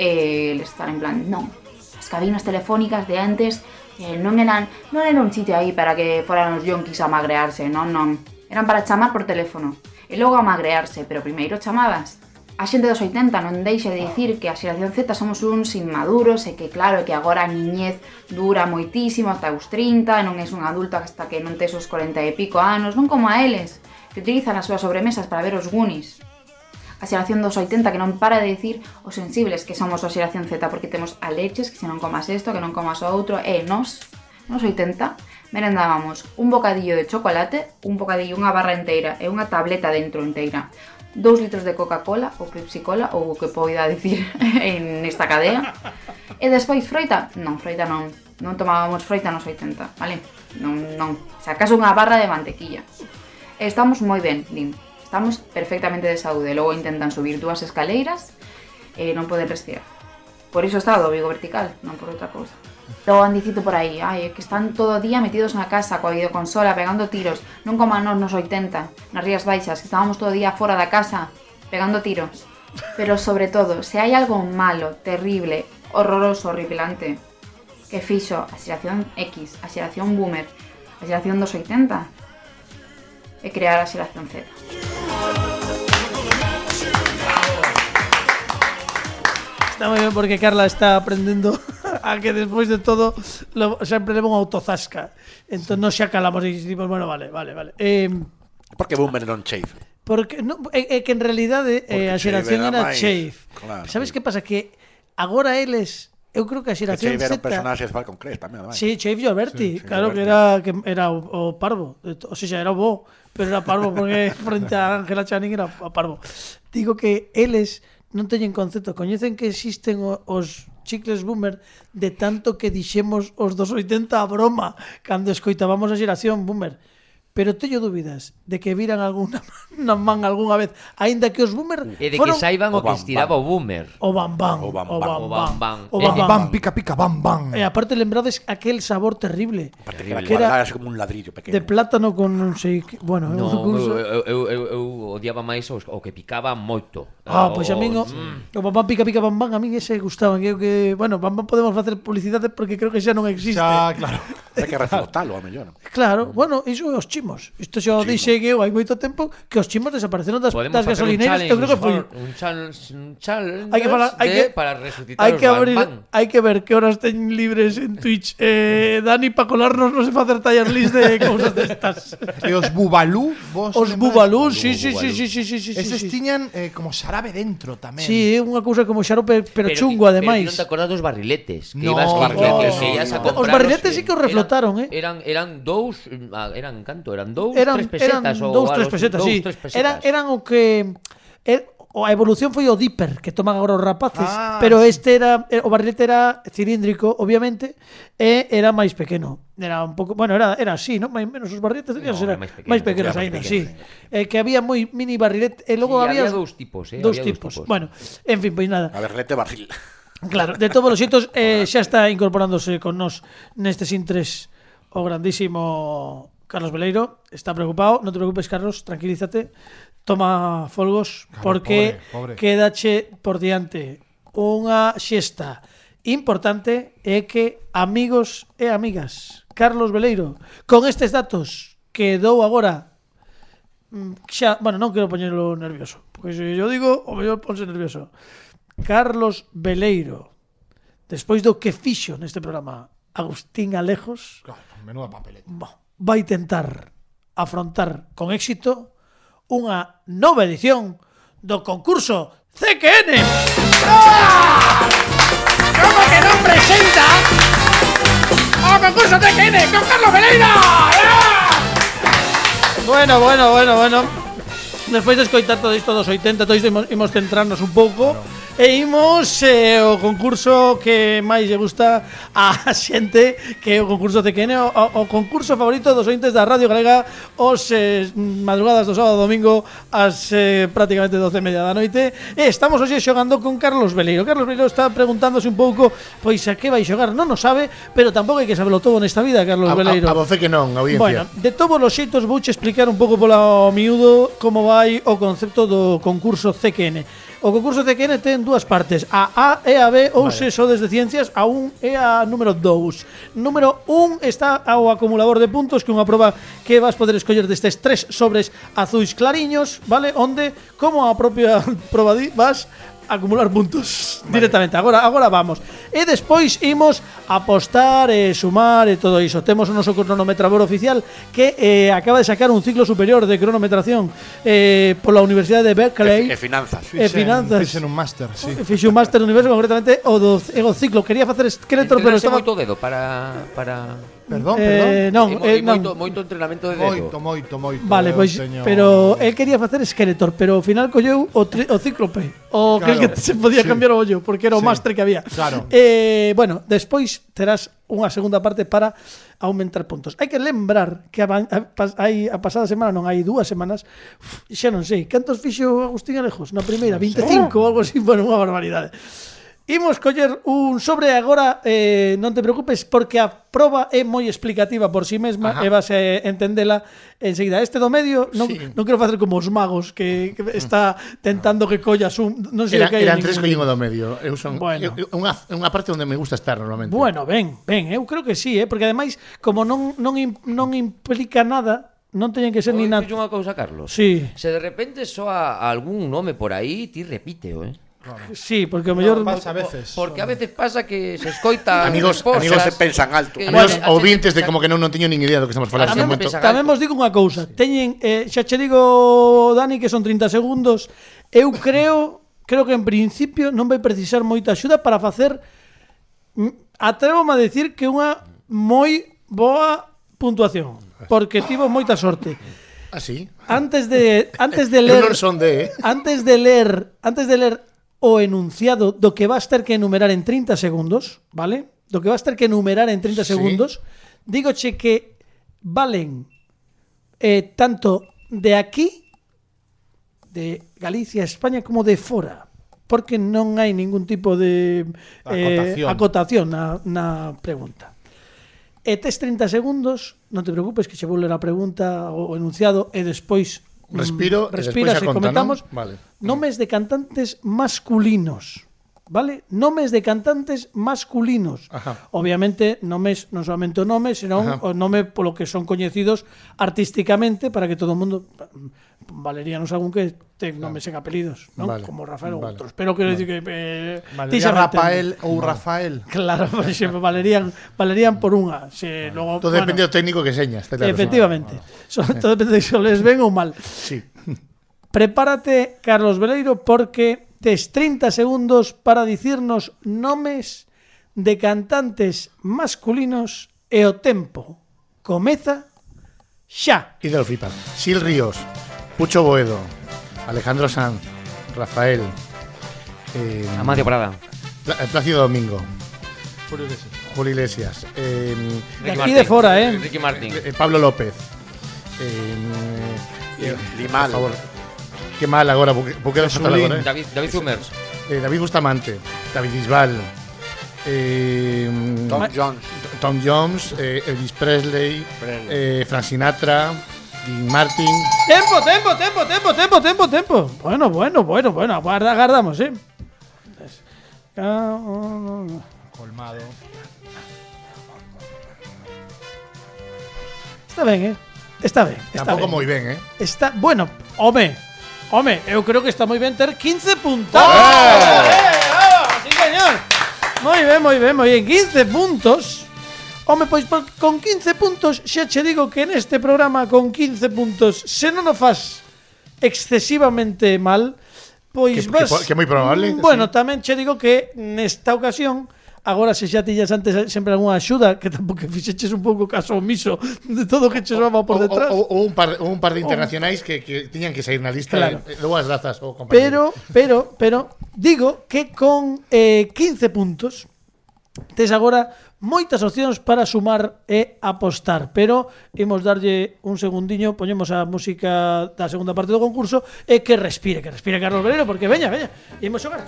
Speaker 8: eh, eles están en plan, non, as cabinas telefónicas de antes eh, non eran non era un sitio aí para que foran os yonkis a magrearse, non, non. Eran para chamar por teléfono e logo a magrearse, pero primeiro chamabas. A xente dos 80 non deixa de dicir que a xeración Z somos uns inmaduros e que claro que agora a niñez dura moitísimo ata os 30, non es un adulto hasta que non tes os 40 e pico anos, non como a eles, que utilizan as súas sobremesas para ver os Goonies a xeración dos 80 que non para de dicir os sensibles que somos a xeración Z porque temos a leches, que se non comas isto, que non comas o outro, e nos, nos 80, merendábamos un bocadillo de chocolate, un bocadillo, unha barra inteira e unha tableta dentro inteira, dous litros de Coca-Cola ou Pepsi-Cola ou o que poida dicir en esta cadea, e despois froita, non, froita non, non tomábamos froita nos 80, vale? Non, non, se acaso unha barra de mantequilla. E Estamos moi ben, din. Estamos perfectamente de saúde. Logo intentan subir dúas escaleiras e non poden respirar. Por iso está o do Vigo vertical, non por outra cousa. Logo han dicido por aí, ai, é que están todo o día metidos na casa coa videoconsola, pegando tiros, non como a nós nos 80, nas Rías Baixas, que estábamos todo o día fora da casa, pegando tiros. Pero sobre todo, se hai algo malo, terrible, horroroso, horripilante, que fixo a xeración X, a xeración Boomer, a xeración dos 80, e crear a xeración Z.
Speaker 2: Está muy bien porque Carla está aprendiendo a que después de todo lo, siempre le pongo autozasca. Entón, Entonces no se acalamos y decimos, bueno, vale, vale, vale. Eh,
Speaker 7: Porque Boomer non shave.
Speaker 2: porque no, é- é que en realidad eh,
Speaker 7: Porque
Speaker 2: a xeración
Speaker 7: Shave era
Speaker 2: era
Speaker 7: máis,
Speaker 2: Shave.
Speaker 7: claro.
Speaker 2: Sabes que pasa? Que agora eles, eu creo que a
Speaker 7: Que
Speaker 2: xeración
Speaker 7: shave era
Speaker 2: Z...
Speaker 7: un personaxe de Falcon Crest tamén, ademais.
Speaker 2: Sí, Shave
Speaker 7: Sí,
Speaker 2: Gilberti,
Speaker 7: Shave
Speaker 2: claro que era que era o, o parvo, de to- o sea, era o bo, pero era parvo porque frente a Angela Channing era o parvo. Digo que eles non teñen concepto, coñecen que existen o- os chicles boomer de tanto que dixemos os dos 80 a broma cando escoitábamos a xeración boomer. Pero teño dúbidas de que viran alguna na man algunha vez, aínda que os boomer
Speaker 4: E de que
Speaker 2: foron
Speaker 4: saiban o
Speaker 7: O
Speaker 4: que
Speaker 7: bam,
Speaker 4: estiraba o boomer.
Speaker 2: o bam bam,
Speaker 7: O bam
Speaker 2: o
Speaker 7: bam,
Speaker 4: o bam
Speaker 2: bam
Speaker 4: bam. Eh,
Speaker 2: o
Speaker 6: Bam,
Speaker 2: bam bam.
Speaker 6: bam, pica, pica, bam, bam.
Speaker 2: E Eh, aparte lembrades aquel sabor terrible.
Speaker 7: Aparte que la
Speaker 2: que
Speaker 7: era
Speaker 2: era-
Speaker 7: como un ladrillo pequeno.
Speaker 2: De plátano con non sei que, bueno, é
Speaker 4: No,
Speaker 2: un recurso.
Speaker 4: eu, eu, eu, eu odiaba máis os, o que picaba moito.
Speaker 2: Ah, pois a min o,
Speaker 4: Mm,
Speaker 2: o Bambán pica pica Bambán a min ese gustaban, creo que, bueno, Bambán podemos facer publicidade porque creo que xa non existe.
Speaker 6: Xa, claro.
Speaker 7: Hay que reflotalo, a mellor.
Speaker 2: Claro, bueno, iso é os chips chismos. Isto xa o dixe eu hai moito tempo que os chismos desapareceron das,
Speaker 4: Podemos
Speaker 2: das
Speaker 4: facer un
Speaker 2: gasolineiras.
Speaker 4: challenge,
Speaker 2: Eu creo que foi
Speaker 4: un challenge, un challenge
Speaker 2: Hay que falar- hay
Speaker 4: de-
Speaker 2: que-
Speaker 4: para resucitar
Speaker 2: Hai
Speaker 4: os
Speaker 2: que
Speaker 4: Bang
Speaker 2: abrir,
Speaker 4: Bang.
Speaker 2: hai que ver que horas teñen libres en Twitch eh, Dani para colarnos non se facer tallas list de cousas destas.
Speaker 6: E os bubalú, vos
Speaker 2: Os
Speaker 6: lembrades?
Speaker 2: bubalú, sí, sí, sí, sí, sí, sí, sí,
Speaker 6: Eses
Speaker 2: sí.
Speaker 6: tiñan eh, como xarabe dentro tamén.
Speaker 2: Sí, é unha cousa como xarope, pero, pero
Speaker 4: ti-
Speaker 2: chungo ademais.
Speaker 4: Pero ti non te acordas dos barriletes que
Speaker 6: No,
Speaker 4: ibas
Speaker 6: barriletes,
Speaker 4: que ibas a
Speaker 6: no.
Speaker 4: comprar,
Speaker 2: Os barriletes sí que os
Speaker 4: eran-
Speaker 2: reflotaron, eh.
Speaker 4: Eran eran dous, ah, eran canto, eran dous,
Speaker 2: eran,
Speaker 4: tres pesetas
Speaker 2: eran
Speaker 4: ou
Speaker 2: dous,
Speaker 4: algo
Speaker 2: tres
Speaker 4: así,
Speaker 2: pesetas,
Speaker 4: dous,
Speaker 2: sí.
Speaker 4: tres pesetas.
Speaker 2: Era, eran o que er, o a evolución foi o dipper que toman agora os rapaces,
Speaker 6: Ah,
Speaker 2: pero este era eh, o barrilete era cilíndrico, obviamente, e era máis pequeno. Era un pouco, bueno, era era así, non? Máis menos os barriletes tenían
Speaker 4: No,
Speaker 2: era
Speaker 4: era máis pequeno,
Speaker 2: máis pequenos
Speaker 4: era máis
Speaker 2: aínda, sí.
Speaker 4: pequeno,
Speaker 2: Eh, que había moi mini barrilete, e logo
Speaker 4: Sí,
Speaker 2: había,
Speaker 4: había dous tipos, eh,
Speaker 2: Dous
Speaker 4: había dous
Speaker 2: tipos.
Speaker 4: tipos.
Speaker 2: Bueno, en fin, pois nada.
Speaker 7: A ver, rete barril.
Speaker 2: Claro, de todos os xeitos eh, xa está incorporándose con nós neste sin tres o grandísimo Carlos Veleiro. Está preocupado, non te preocupes Carlos, tranquilízate. Toma folgos
Speaker 6: Claro,
Speaker 2: porque
Speaker 6: pobre, pobre.
Speaker 2: quédache por diante unha xesta importante é que amigos e amigas, Carlos Veleiro, con estes datos que dou agora mm, xa, bueno, non quero poñelo nervioso, porque se eu digo, o mellor ponse nervioso. Carlos Veleiro, despois do que fixo neste programa Agustín Alejos,
Speaker 6: Claro, pues menuda papeleta.
Speaker 2: bo, vai tentar afrontar con éxito unha nova edición do concurso CQN. Como que non presenta o concurso CQN con Carlos Veleiro? Bueno, bueno, bueno, bueno. Despois de escoitar todo isto dos 80, todo isto imos, imos centrarnos un pouco e imos eh, o concurso que máis lle gusta a xente que é o concurso CQN, o, o, o concurso favorito dos ointes da Radio Galega os eh, madrugadas do sábado e domingo as eh, prácticamente 12 e media da noite e estamos hoxe xogando con Carlos Veleiro Carlos Veleiro está preguntándose un pouco pois a que vai xogar, non o sabe pero tampouco hai que saberlo todo nesta vida, Carlos
Speaker 3: A,
Speaker 2: Veleiro
Speaker 3: a, a voce que non, audiencia.
Speaker 2: Bueno, de todos los xeitos vouche explicar un pouco pola miúdo como vai o concepto do concurso CQN. O concurso CQN ten dúas partes, a A e a B ou se sodes de ciencias, a un e a número 2. Número 1 está ao acumulador de puntos que é unha proba que vas poder escoller destes tres sobres azuis clariños, vale? Onde como a propia proba di, vas acumular puntos directamente. Agora agora vamos. E despois imos apostar e sumar e todo iso. Temos o noso cronometrador oficial que eh, acaba de sacar un ciclo superior de cronometración eh, pola Universidade de Berkeley.
Speaker 7: E, e finanzas.
Speaker 2: E finanzas. Eh,
Speaker 6: Fixen un máster, sí.
Speaker 2: Fixo un máster no universo concretamente o do e o ciclo. Quería facer esqueleto, pero
Speaker 4: Entrenarse
Speaker 2: estaba
Speaker 4: moito o dedo para para
Speaker 6: Perdón,
Speaker 2: eh,
Speaker 6: perdón.
Speaker 2: non,
Speaker 4: E
Speaker 2: eh,
Speaker 4: mo- moito,
Speaker 2: non.
Speaker 4: moito entrenamento de dedo.
Speaker 6: Moito, moito, moito. eh,
Speaker 2: Vale,
Speaker 6: Eu
Speaker 2: pois
Speaker 6: teño-
Speaker 2: pero el quería facer Skeletor, pero ao final colleu o, tri- o cíclope,
Speaker 6: Claro.
Speaker 2: o que, el que se podía
Speaker 6: Sí.
Speaker 2: cambiar o ollo, porque era o
Speaker 6: Sí.
Speaker 2: máster que había.
Speaker 6: Claro.
Speaker 2: Eh, bueno, despois terás unha segunda parte para aumentar puntos. Hai que lembrar que a, ban- a, pas- hai, a pasada semana, non hai dúas semanas, uf, xa non sei, cantos fixo Agustín Alejos? Na primeira, 25 ou algo así, bueno, unha barbaridade. Imos coller un sobre agora, eh, non te preocupes, porque a proba é moi explicativa por si sí mesma e vas a entendela enseguida. Este do medio, non, non quero facer como os magos que, que está tentando que collas un... Non sei
Speaker 3: Era,
Speaker 2: de que hai
Speaker 3: eran
Speaker 2: ningún-
Speaker 3: tres collín o do medio. Eu son
Speaker 2: Bueno.
Speaker 3: eu- eu- unha, unha parte onde me gusta estar normalmente.
Speaker 2: Bueno, ben, ben, eu creo que sí, eh? porque ademais, como non, non, im- non implica nada, non teñen que ser
Speaker 4: Oi,
Speaker 2: ni nada.
Speaker 4: fixo unha cousa, Carlos.
Speaker 2: Sí,
Speaker 4: Se de repente soa algún nome por aí, ti repíteo, eh.
Speaker 2: sí, porque o mellor...
Speaker 6: pasa a veces.
Speaker 4: Porque a veces pasa que se escoita
Speaker 3: Amigos-
Speaker 4: respostas
Speaker 7: amigos se pensan alto.
Speaker 4: que-
Speaker 3: Amigos
Speaker 4: que a xente
Speaker 3: ouvintes
Speaker 4: pensa-
Speaker 3: de como que non, non teño nin idea do que estamos falando. este
Speaker 4: Tamén
Speaker 3: Tamén,
Speaker 2: Tamén,
Speaker 4: momento.
Speaker 2: tamén, vos digo unha cousa, teñen eh, xa che digo Dani que son 30 segundos. Eu creo, creo que en principio non vai precisar moita axuda para facer mm, atrévome a decir que unha moi boa puntuación, porque tivo moita sorte.
Speaker 3: Así.
Speaker 2: Antes de antes de
Speaker 3: Ah, Eu
Speaker 2: ler
Speaker 3: non son de, eh.
Speaker 2: antes de ler, antes de ler o enunciado do que vas ter que enumerar en 30 segundos, ¿vale? Do que vas ter que enumerar en 30
Speaker 3: Sí.
Speaker 2: segundos, dígoche que valen eh, tanto de aquí, de Galicia, España, como de fora. Porque non hai ningún tipo de eh,
Speaker 6: Acotación.
Speaker 2: acotación na, na pregunta. E tes 30 segundos, non te preocupes que che vou ler a pregunta o enunciado e despois mm,
Speaker 3: Respiro e despois
Speaker 2: respiras
Speaker 3: a
Speaker 2: e
Speaker 3: conta,
Speaker 2: comentamos
Speaker 3: non? Vale.
Speaker 2: nomes de cantantes masculinos. vale? Nomes de cantantes masculinos.
Speaker 6: Ajá.
Speaker 2: Obviamente, nomes, non solamente o nome, senón o nome polo que son coñecidos artísticamente para que todo o mundo valerianos algún que ten nomes en apelidos, non?
Speaker 6: Vale.
Speaker 2: Como Rafael ou
Speaker 6: Vale.
Speaker 2: outros. Pero quero dicir que eh, ti
Speaker 6: Valeria
Speaker 2: xa me
Speaker 6: Rafael
Speaker 2: entendes.
Speaker 6: ou Rafael.
Speaker 2: Claro, por exemplo, Valerian, Valerian por unha. Se logo
Speaker 3: Todo depende do técnico que señas. está claro.
Speaker 2: Efectivamente. So- todo depende de se les ven ou mal.
Speaker 3: Sí.
Speaker 2: Prepárate, Carlos Veleiro, porque tes 30 segundos para dicirnos nomes de cantantes masculinos e o tempo. Comeza xa.
Speaker 3: Y de lo flipan. Sil Ríos, Pucho Boedo, Alejandro Sanz, Rafael, eh,
Speaker 4: Amadio Prada.
Speaker 3: Pla- eh, Plácido Domingo,
Speaker 6: Julio Iglesias.
Speaker 3: Julio Iglesias, eh,
Speaker 4: Ricky
Speaker 2: De aquí
Speaker 4: Martin.
Speaker 2: de fora, eh.
Speaker 4: Ricky Martin.
Speaker 3: eh, Pablo López. eh,
Speaker 7: Li- Limal.
Speaker 3: Por favor. Qué mal ahora, porque porque era fatal ahora, eh.
Speaker 4: David, David Summers.
Speaker 3: Eh, David Bustamante, David Bisbal, eh,
Speaker 7: Tom
Speaker 2: Ma-
Speaker 7: Jones.
Speaker 3: Tom Jones, eh, Elvis Presley,
Speaker 7: Presley.
Speaker 3: eh, Frank Sinatra, Dean Martin.
Speaker 2: Tempo, tempo, tempo, tempo, tempo, tempo, tempo. Bueno, bueno, bueno, bueno, aguarda, aguardamos, eh.
Speaker 6: Colmado.
Speaker 2: Está ben, eh. Está ben, está
Speaker 3: Tampoco
Speaker 2: ben.
Speaker 3: muy bien, ¿eh?
Speaker 2: Está, bueno, home, home, eu creo que está moi ben ter 15 puntos.
Speaker 3: ¡Eh!
Speaker 2: Sí, señor. Moi ben, moi ben, moi ben, 15 puntos. Home, pois por, con 15 puntos xa che digo que neste programa con 15 puntos se non o fas excesivamente mal, pois
Speaker 3: Que-
Speaker 2: vas...
Speaker 3: que
Speaker 2: Mm,
Speaker 3: po- que é moi probable,
Speaker 2: Bueno, tamén che digo que nesta ocasión Agora se xa tillas antes sempre algunha axuda que tampouco fixeches un pouco caso omiso de todo o que che soaba por
Speaker 3: O- o-
Speaker 2: detrás.
Speaker 3: o- o un par, o un par de internacionales que, que tenían que salir en la lista.
Speaker 2: Claro.
Speaker 3: eh, luego las razas o compañeros.
Speaker 2: Pero, pero, pero, digo que con eh, 15 puntos tes agora moitas opcións para sumar e apostar, pero imos darlle un segundiño, poñemos a música da segunda parte do concurso e que respire, que respire Carlos Velero, porque veña, veña, imos xogar.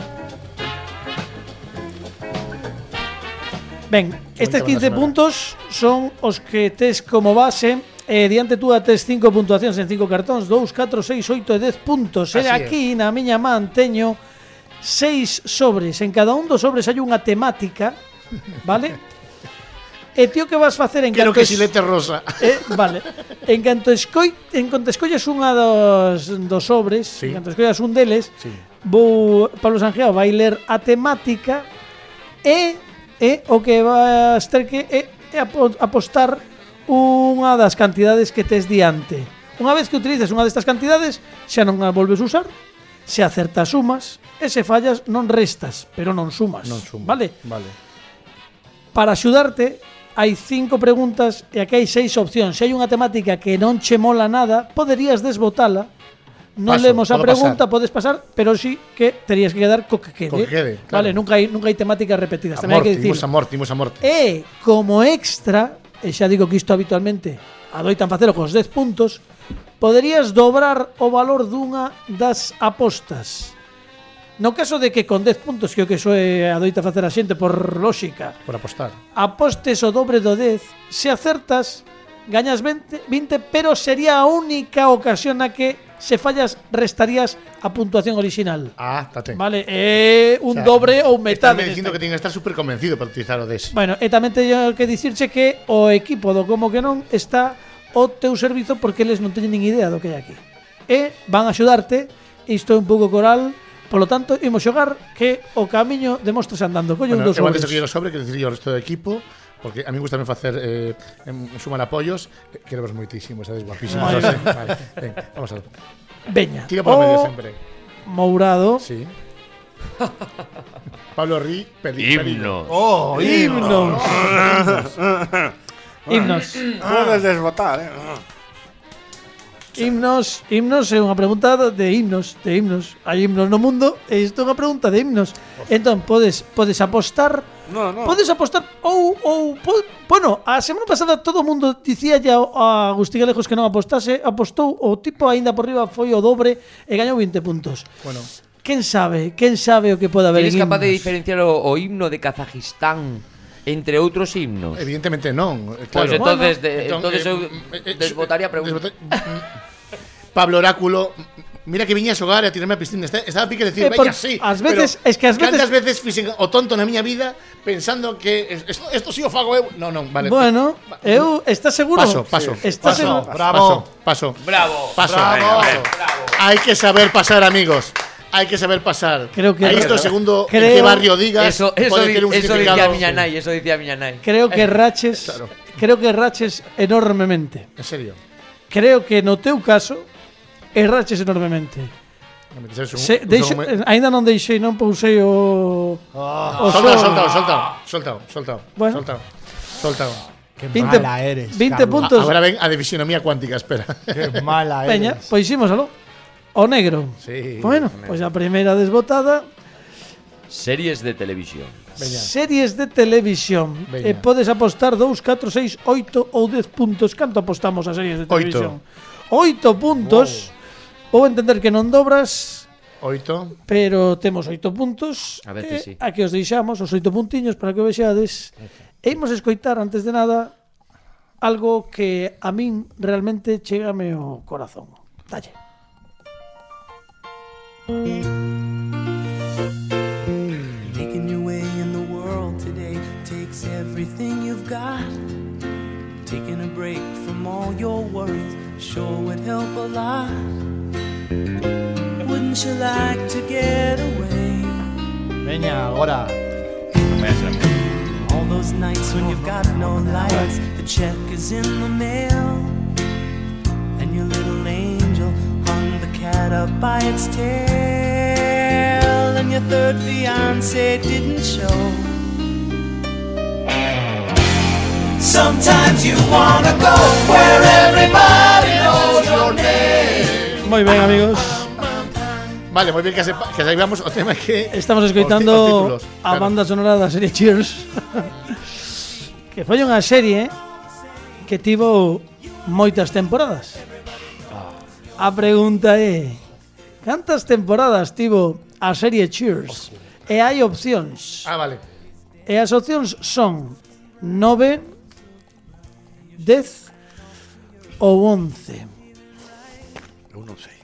Speaker 2: Ben, estes 15 puntos son os que tes como base eh, diante túa tes 5 puntuacións en 5 cartóns 2, 4, 6, 8 e 10 puntos e
Speaker 3: Así é.
Speaker 2: aquí na miña man teño 6 sobres en cada un dos sobres hai unha temática vale? e tío que vas facer en
Speaker 3: Quiero
Speaker 2: canto
Speaker 3: que
Speaker 2: es-
Speaker 3: Silete Rosa.
Speaker 2: Eh, vale. En canto escoi, en canto escollas unha dos, dos sobres,
Speaker 3: Sí.
Speaker 2: en canto escollas un deles,
Speaker 3: Sí.
Speaker 2: vou, Pablo Sanjeao vai ler a temática e, e o que vas ter que é, é apo- apostar unha das cantidades que tes diante. Unha vez que utilices unha destas cantidades, xa non a volves usar, se acertas sumas, e se fallas non restas, pero non sumas.
Speaker 6: Non sumo.
Speaker 2: Vale?
Speaker 6: Vale.
Speaker 2: Para axudarte, hai cinco preguntas e aquí hai seis opcións. Se hai unha temática que non che mola nada, poderías desbotala. Non
Speaker 3: Paso,
Speaker 2: lemos a
Speaker 3: podo
Speaker 2: pregunta,
Speaker 3: pasar.
Speaker 2: podes pasar, pero sí que terías que quedar co que quede.
Speaker 3: Co que quede, claro.
Speaker 2: Vale, nunca hai, nunca hai temáticas repetidas. Tamén hai que
Speaker 3: Amorti,
Speaker 2: dicir.
Speaker 3: imos a Morty, imos a Morty.
Speaker 2: E como extra, e xa digo que isto habitualmente adoitan facelo cos 10 puntos, poderías dobrar o valor dunha das apostas. No caso de que con 10 puntos, que o que soe adoita facer a xente por lógica,
Speaker 3: Por apostar.
Speaker 2: apostes o dobre do 10, se acertas, gañas 20, 20, pero sería a única ocasión na que se fallas, restarías a puntuación orixinal.
Speaker 3: Ah, estate.
Speaker 2: Vale, é un
Speaker 3: O sea,
Speaker 2: dobre ou
Speaker 3: Están
Speaker 2: metade.
Speaker 3: diciendo que
Speaker 2: desta-
Speaker 3: tienen que estar súper convencido para utilizar Odes.
Speaker 2: Bueno, e tamén teño que dicirche que o equipo do Como que non está o teu servizo porque eles non teñen nin idea do que hai aquí. E van a axudarte, isto é un pouco coral, polo tanto, imos xogar que o camiño demostres andando. Colle
Speaker 3: Bueno,
Speaker 2: un
Speaker 3: eu
Speaker 2: dos
Speaker 3: antes de que
Speaker 2: sobres.
Speaker 3: yo lo sobre, quero dicir yo al resto do equipo, porque a mí gusta me facer eh, em, sumar apoios, eh, que vos moitísimo, sabes, guapísimo.
Speaker 2: Moi
Speaker 3: Vale, ven, vamos a ver.
Speaker 2: Veña.
Speaker 3: Tira por o... medio
Speaker 2: o
Speaker 3: sempre.
Speaker 2: Mourado.
Speaker 3: Sí. Pablo Rí, peli, Himno.
Speaker 6: Oh,
Speaker 2: Himnos. himnos.
Speaker 7: Puedes desbotar, ¿eh?
Speaker 2: Himnos, himnos é unha pregunta de himnos, de himnos. Hai himnos no mundo e isto é unha pregunta de himnos. Entón podes podes apostar
Speaker 7: No, no.
Speaker 2: Podes apostar ou ou po- bueno, a semana pasada todo o mundo dicía ya a Agustín Alejos que non apostase, apostou o tipo aínda por riba foi o dobre e gañou 20 puntos.
Speaker 3: Bueno,
Speaker 2: Quen sabe, quen sabe o que pode haber
Speaker 4: ¿Eres
Speaker 2: en
Speaker 4: capaz de
Speaker 2: himnos?
Speaker 4: diferenciar o, o himno de Kazajistán entre otros himnos?
Speaker 3: evidentemente non. eh,
Speaker 4: Pues
Speaker 3: Claro.
Speaker 4: entonces, de-
Speaker 3: Entón,
Speaker 4: entonces
Speaker 3: eh,
Speaker 4: eu
Speaker 3: mm, eh, eh,
Speaker 4: desbotaría a pregunta.
Speaker 3: desbotar- mm, Pablo Oráculo, mm, Mira que viña a xogar e a tirarme a piscina. Está- Estaba a pique de decir,
Speaker 2: Eh, por-
Speaker 3: veña, sí.
Speaker 2: ás veces-
Speaker 3: pero
Speaker 2: es que ás veces-
Speaker 3: Cantas veces fixen o tonto na miña vida pensando que es- esto, esto sí o fago eu. No, no, vale.
Speaker 2: Bueno, eu, está seguro?
Speaker 3: Paso, paso.
Speaker 6: Paso.
Speaker 2: Está seguro?
Speaker 6: Bravo.
Speaker 3: Paso.
Speaker 4: Bravo.
Speaker 3: Paso.
Speaker 6: Bravo.
Speaker 3: Hay que saber pasar, amigos. Hay que saber pasar.
Speaker 2: Creo que-
Speaker 3: Ahí esto, segundo en
Speaker 2: Creo-
Speaker 3: qué barrio digas,
Speaker 4: Eso, eso,
Speaker 3: puede
Speaker 4: di-
Speaker 3: tener un
Speaker 4: eso
Speaker 3: significado.
Speaker 4: decía miña nai, eso decía Eh, miña nai.
Speaker 2: Creo que raches, creo que raches enormemente.
Speaker 3: En serio.
Speaker 2: Creo que no teu caso erraches enormemente.
Speaker 3: Es un-
Speaker 2: Se,
Speaker 3: un
Speaker 2: deixo,
Speaker 3: segundo-
Speaker 2: eh, aínda non deixei, non pousei o o
Speaker 3: Soltao,
Speaker 2: sol.
Speaker 3: soltao, soltao, soltao, soltao,
Speaker 2: Bueno.
Speaker 3: soltao, soltao.
Speaker 6: Qué
Speaker 2: 20
Speaker 6: mala eres. Carlos.
Speaker 2: 20 puntos. Entonces-
Speaker 3: Ahora ven a divisionomía cuántica, espera.
Speaker 6: Qué mala eres.
Speaker 2: Peña, pois xímosalo. O negro.
Speaker 3: Sí,
Speaker 2: bueno, pois a primeira desbotada,
Speaker 4: Series de televisión.
Speaker 2: series de televisión.
Speaker 3: Veña.
Speaker 2: E podes apostar 2, 4, 6, 8 ou 10 puntos. Canto apostamos a series de televisión? 8 puntos. Vou entender que non dobras,
Speaker 3: Oito.
Speaker 2: pero temos oito puntos.
Speaker 4: A veces
Speaker 2: eh,
Speaker 4: sí.
Speaker 2: Aquí os deixamos os oito puntiños para que o vexades. E imos escoitar antes de nada algo que a min realmente chegame ao corazón. Dalle.
Speaker 9: Making your way in the world today takes everything you've got. Taking a break from all your worries sure would help a lot. Wouldn't you like to get away?
Speaker 6: Peña, ahora.
Speaker 9: All those nights when you've got no lights, the check is in the mail. And your little angel hung the cat up by its tail. And your third fiance didn't show. Sometimes you wanna go where everybody knows your name.
Speaker 2: Moi ben, amigos.
Speaker 3: Vale, muy bien que, sepa, que saibamos o tema que...
Speaker 2: Estamos
Speaker 3: os ti-
Speaker 2: escoitando
Speaker 3: os títulos,
Speaker 2: a
Speaker 3: claro.
Speaker 2: banda sonora da serie Cheers. que foi unha serie que tivo moitas temporadas.
Speaker 3: Ah.
Speaker 2: A pregunta é Cantas temporadas tivo a serie Cheers? E hai opcións.
Speaker 3: Ah, vale.
Speaker 2: E as opcións son 9, 10 ou 11.
Speaker 7: Eu non sei.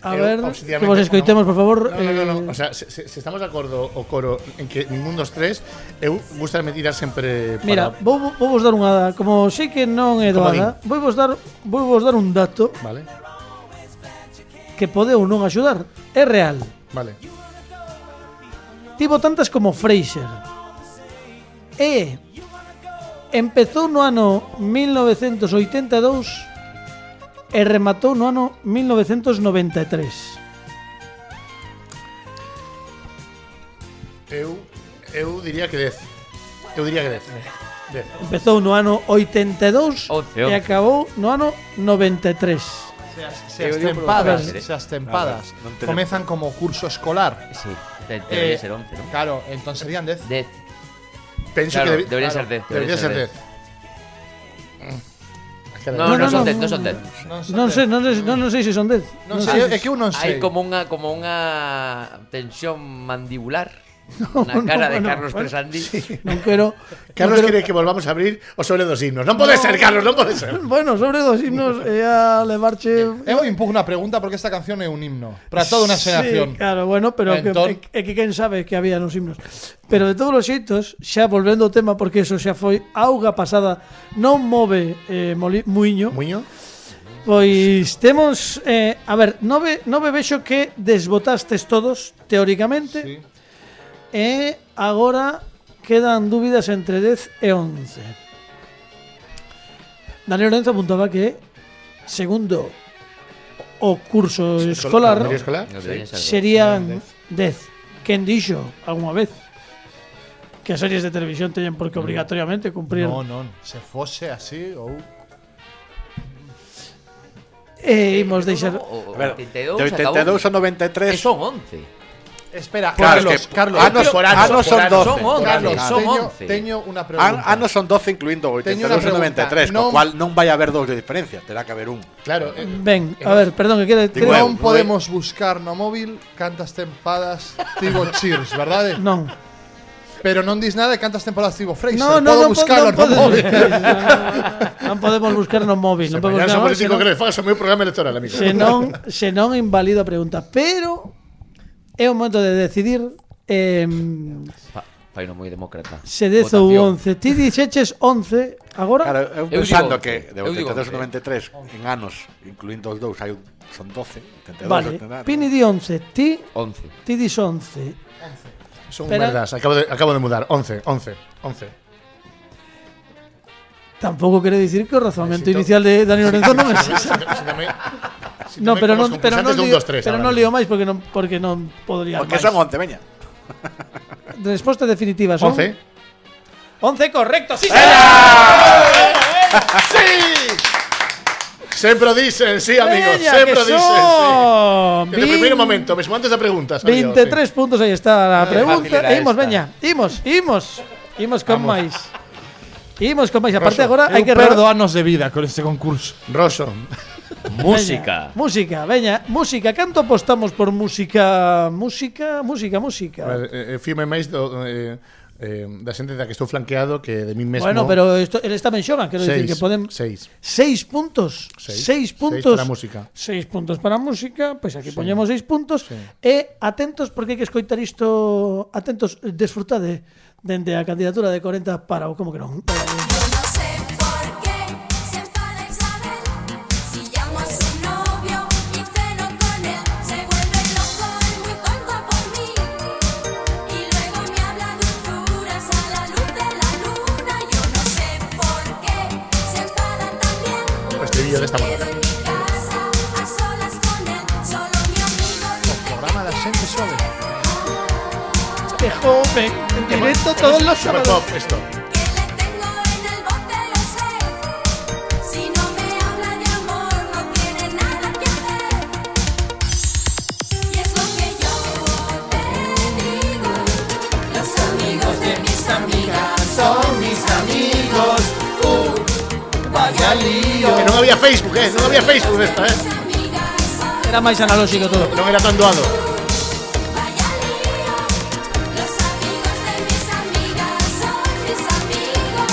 Speaker 2: A
Speaker 3: Eu,
Speaker 2: ver,
Speaker 3: obviamente,
Speaker 2: que vos escoitemos, por favor.
Speaker 3: Eh, No, no, no, no. O
Speaker 2: eh,
Speaker 3: sea, se, se se estamos de acordo o coro en que ningún dos tres, eu gustame tirar sempre para...
Speaker 2: Mira, vou, vou vos dar unha, como sei que non é doada, vou vos dar, vou vos dar un dato
Speaker 3: Vale,
Speaker 2: que pode ou non axudar. É real.
Speaker 3: vale.
Speaker 2: Tivo tantas como Fraser. E empezou no ano 1982 e rematou no ano 1993.
Speaker 3: Eu, eu diría que 10. Eu diría que eh, 10. 10.
Speaker 2: Empezou no ano 82
Speaker 4: Once,
Speaker 2: e
Speaker 4: once.
Speaker 2: acabou no ano 93.
Speaker 6: Seas,
Speaker 4: Eu
Speaker 6: seas
Speaker 4: digo
Speaker 6: tempadas,
Speaker 4: por-
Speaker 6: seas tempadas.
Speaker 7: No, no tenemos.
Speaker 6: Comienzan como curso escolar.
Speaker 4: Sí. Te- debería
Speaker 6: Eh,
Speaker 4: ser 11, ¿no?
Speaker 6: Claro, entonces serían 10.
Speaker 4: Death.
Speaker 3: Penso
Speaker 4: Claro,
Speaker 3: que debi-
Speaker 4: debería ser 10, debería
Speaker 3: Debería ser
Speaker 4: ser
Speaker 3: 10.
Speaker 4: No, no,
Speaker 2: no,
Speaker 4: son
Speaker 2: no,
Speaker 4: Death,
Speaker 2: no,
Speaker 4: no son Death.
Speaker 2: Non sei, non sei, non, non sei se son 10.
Speaker 6: No sé, es que uno
Speaker 4: Hay como una como una tensión mandibular. Una
Speaker 2: no,
Speaker 4: cara de
Speaker 2: bueno,
Speaker 4: Carlos
Speaker 2: bueno,
Speaker 4: Tresandi.
Speaker 2: Non quero
Speaker 3: Carlos quiere que volvamos a abrir o sobre dos himnos. No puede ser, Carlos, no puede ser.
Speaker 2: Bueno, sobre dos himnos e a levarche
Speaker 6: Eu impujo Eh, una pregunta porque esta canción es un himno. Para toda una generación.
Speaker 2: Sí, claro, bueno, pero que,
Speaker 6: Entón-
Speaker 2: é, é que quen sabe que había nos himnos. Pero de todos os xeitos, xa volvendo ao tema porque eso xa foi auga pasada, non move eh, moli, muiño.
Speaker 3: Muño.
Speaker 2: Pois temos eh, A ver, nove, nove vexo que desbotastes todos Teóricamente
Speaker 6: Sí.
Speaker 2: E agora quedan dúbidas entre 10 e 11 Daniel Lorenzo apuntaba que Segundo o curso escolar
Speaker 3: Mario Escolar.
Speaker 4: No debería ser Death.
Speaker 2: Serían 10 Quen dixo algunha vez Que as series de televisión teñen por que obligatoriamente cumprir
Speaker 6: No, no, se fose así. ou-
Speaker 2: E Eh, imos deixar
Speaker 4: O- o-
Speaker 7: A ver,
Speaker 4: 82
Speaker 7: de
Speaker 4: acabou.
Speaker 7: 82 a
Speaker 4: Eh,
Speaker 7: 93.
Speaker 4: Son Ah, 11.
Speaker 6: Espera,
Speaker 7: Claro,
Speaker 6: Carlos,
Speaker 7: que-
Speaker 6: Carlos.
Speaker 7: anos-
Speaker 6: Pero-
Speaker 7: anos ah, son
Speaker 6: anos,
Speaker 7: 12,
Speaker 4: son
Speaker 6: Carlos,
Speaker 4: 11, son
Speaker 6: teño-
Speaker 4: 11.
Speaker 6: teño
Speaker 2: Ah,
Speaker 6: una pregunta.
Speaker 7: An, anos Ah, son 12 incluindo o
Speaker 6: Teño unha
Speaker 7: 82 e
Speaker 6: pregunta.
Speaker 7: 93,
Speaker 6: Non-
Speaker 7: no, co cual non vai haber dous de diferencia, terá que haber un.
Speaker 3: Claro. eh,
Speaker 2: Ben, a ver, perdón, que quede
Speaker 7: Digo,
Speaker 6: Non
Speaker 7: eu, non
Speaker 6: podemos buscar no móvil cantas tempadas tivo cheers, ¿verdad?
Speaker 2: Non
Speaker 6: Pero non dis nada de cantas temporadas tivo Fraser.
Speaker 2: No, no,
Speaker 6: Podo
Speaker 2: non, po-
Speaker 6: buscalo,
Speaker 2: non,
Speaker 6: non
Speaker 2: podemos,
Speaker 6: móvil.
Speaker 2: non podemos buscar no móvil, non podemos
Speaker 3: Mañana somos
Speaker 2: buscar no móvil,
Speaker 3: político
Speaker 2: senón-
Speaker 3: creo que falso, meu programa electoral, amigo.
Speaker 2: se non, se non invalido a pregunta, pero é o momento de decidir em,
Speaker 4: Fa, fai non moi demócrata.
Speaker 2: se dez ou
Speaker 4: Votación.
Speaker 2: 11. Ti dixeches 11 agora?
Speaker 7: Claro, eu
Speaker 4: Eu
Speaker 7: pensando
Speaker 4: digo
Speaker 7: que de e
Speaker 4: once, eu digo
Speaker 7: 82 93 en anos, incluindo os dous, hai un- son e 12, 82,
Speaker 2: vale.
Speaker 7: 89.
Speaker 2: Pini di 11, ti
Speaker 4: 11.
Speaker 2: ti dis 11.
Speaker 3: Son
Speaker 2: Pero-
Speaker 3: merdas, acabo de, acabo de mudar. 11, 11, 11.
Speaker 2: Tampouco quere dicir que o razoamento
Speaker 3: Necesito-
Speaker 2: inicial de Dani Lorenzo non é ese.
Speaker 3: Si tamén- si
Speaker 2: No,
Speaker 3: tamén
Speaker 2: pero
Speaker 3: con os
Speaker 2: non, pero non
Speaker 3: concursantes de un,
Speaker 2: leo,
Speaker 3: dos, tres,
Speaker 2: pero
Speaker 3: ahora
Speaker 2: non leo
Speaker 3: mismo.
Speaker 2: máis porque non porque non podría
Speaker 7: Porque
Speaker 2: máis.
Speaker 7: son 11, veña.
Speaker 2: Resposta definitiva son
Speaker 3: 11.
Speaker 2: 11 correcto, sí.
Speaker 3: Sempre o ¡Ah, dicen, sí, amigos,
Speaker 2: Veña,
Speaker 3: sempre
Speaker 2: que
Speaker 3: o dicen.
Speaker 2: son
Speaker 3: Sí. Desde o primeiro momento, mesmo antes da pregunta. sabía,
Speaker 2: 23 puntos aí está a
Speaker 7: fácil
Speaker 2: pregunta.
Speaker 7: era
Speaker 2: E imos,
Speaker 7: esta.
Speaker 2: veña. Imos, imos. Imos con
Speaker 3: Vamos.
Speaker 2: máis. Imos con máis. Aparte
Speaker 3: Rosso,
Speaker 2: agora hai que
Speaker 6: perdo
Speaker 2: re-
Speaker 6: anos de vida con este concurso.
Speaker 3: sí. Rosso,
Speaker 4: Música.
Speaker 2: Música, veña, música. Canto apostamos por música, música, música, música.
Speaker 3: a ver, eh, eh, firme máis do, eh, eh, da xente da que estou flanqueado que de mí mesmo.
Speaker 2: Bueno, pero esto, él está ben xogan, quero dicir
Speaker 3: seis,
Speaker 2: que podemos
Speaker 3: seis.
Speaker 2: 6 puntos.
Speaker 3: Seis.
Speaker 2: 6
Speaker 3: Seis
Speaker 2: puntos.
Speaker 3: para música.
Speaker 2: 6 puntos para música, pois aquí poñemos 6 puntos e atentos porque hai que escoitar isto, atentos, eh, desfrutade dende a candidatura de 40 para o como que non.
Speaker 10: No sé por qué se enfada Isabel. Si llamo a su novio y ceno con él, se vuelve loco y muy tonto por mí. Y luego me habla de duras a la luz de la luna. Yo no sé por qué se enfada también.
Speaker 3: Este vídeo de esta
Speaker 10: Quedo en mi casa a solas con él. Solo mi amigo dice
Speaker 7: Programa da xente sobe.
Speaker 2: Este joven, en directo todos los
Speaker 3: Super
Speaker 2: sábados.
Speaker 3: pop, esto.
Speaker 10: que le tengo en el bote, lo sé. Si no me habla de amor, no tiene nada que hacer. Y es lo que yo te digo. Los amigos de mis amigas son mis amigos. Uh, vaya lío.
Speaker 3: Que non había Facebook, eh? Non había Facebook nesta, eh?
Speaker 2: Era máis analóxico todo.
Speaker 3: Non era tan doado.
Speaker 10: Vaya lío. Los amigos de mis amigas son mis amigos.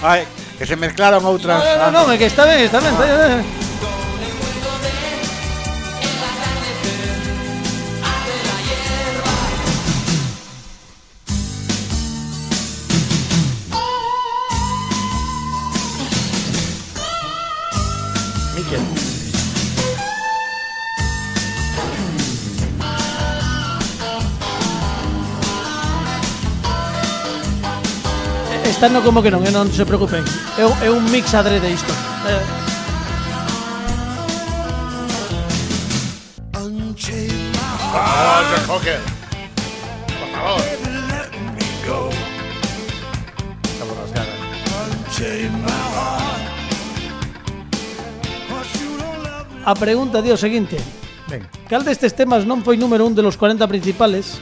Speaker 7: Ai, que se mezclaron outras.
Speaker 2: No, no, no, é que está ben, está ben, está ben.
Speaker 3: Miquel.
Speaker 2: Está no como que non, eh, non se preocupen. É, un- é un mix adrede isto. Eh,
Speaker 3: Oh, Josh Cocker. Por favor. Estamos rasgada.
Speaker 2: a pregunta di o seguinte.
Speaker 3: Ven.
Speaker 2: Cal destes temas non foi número un de los 40 principales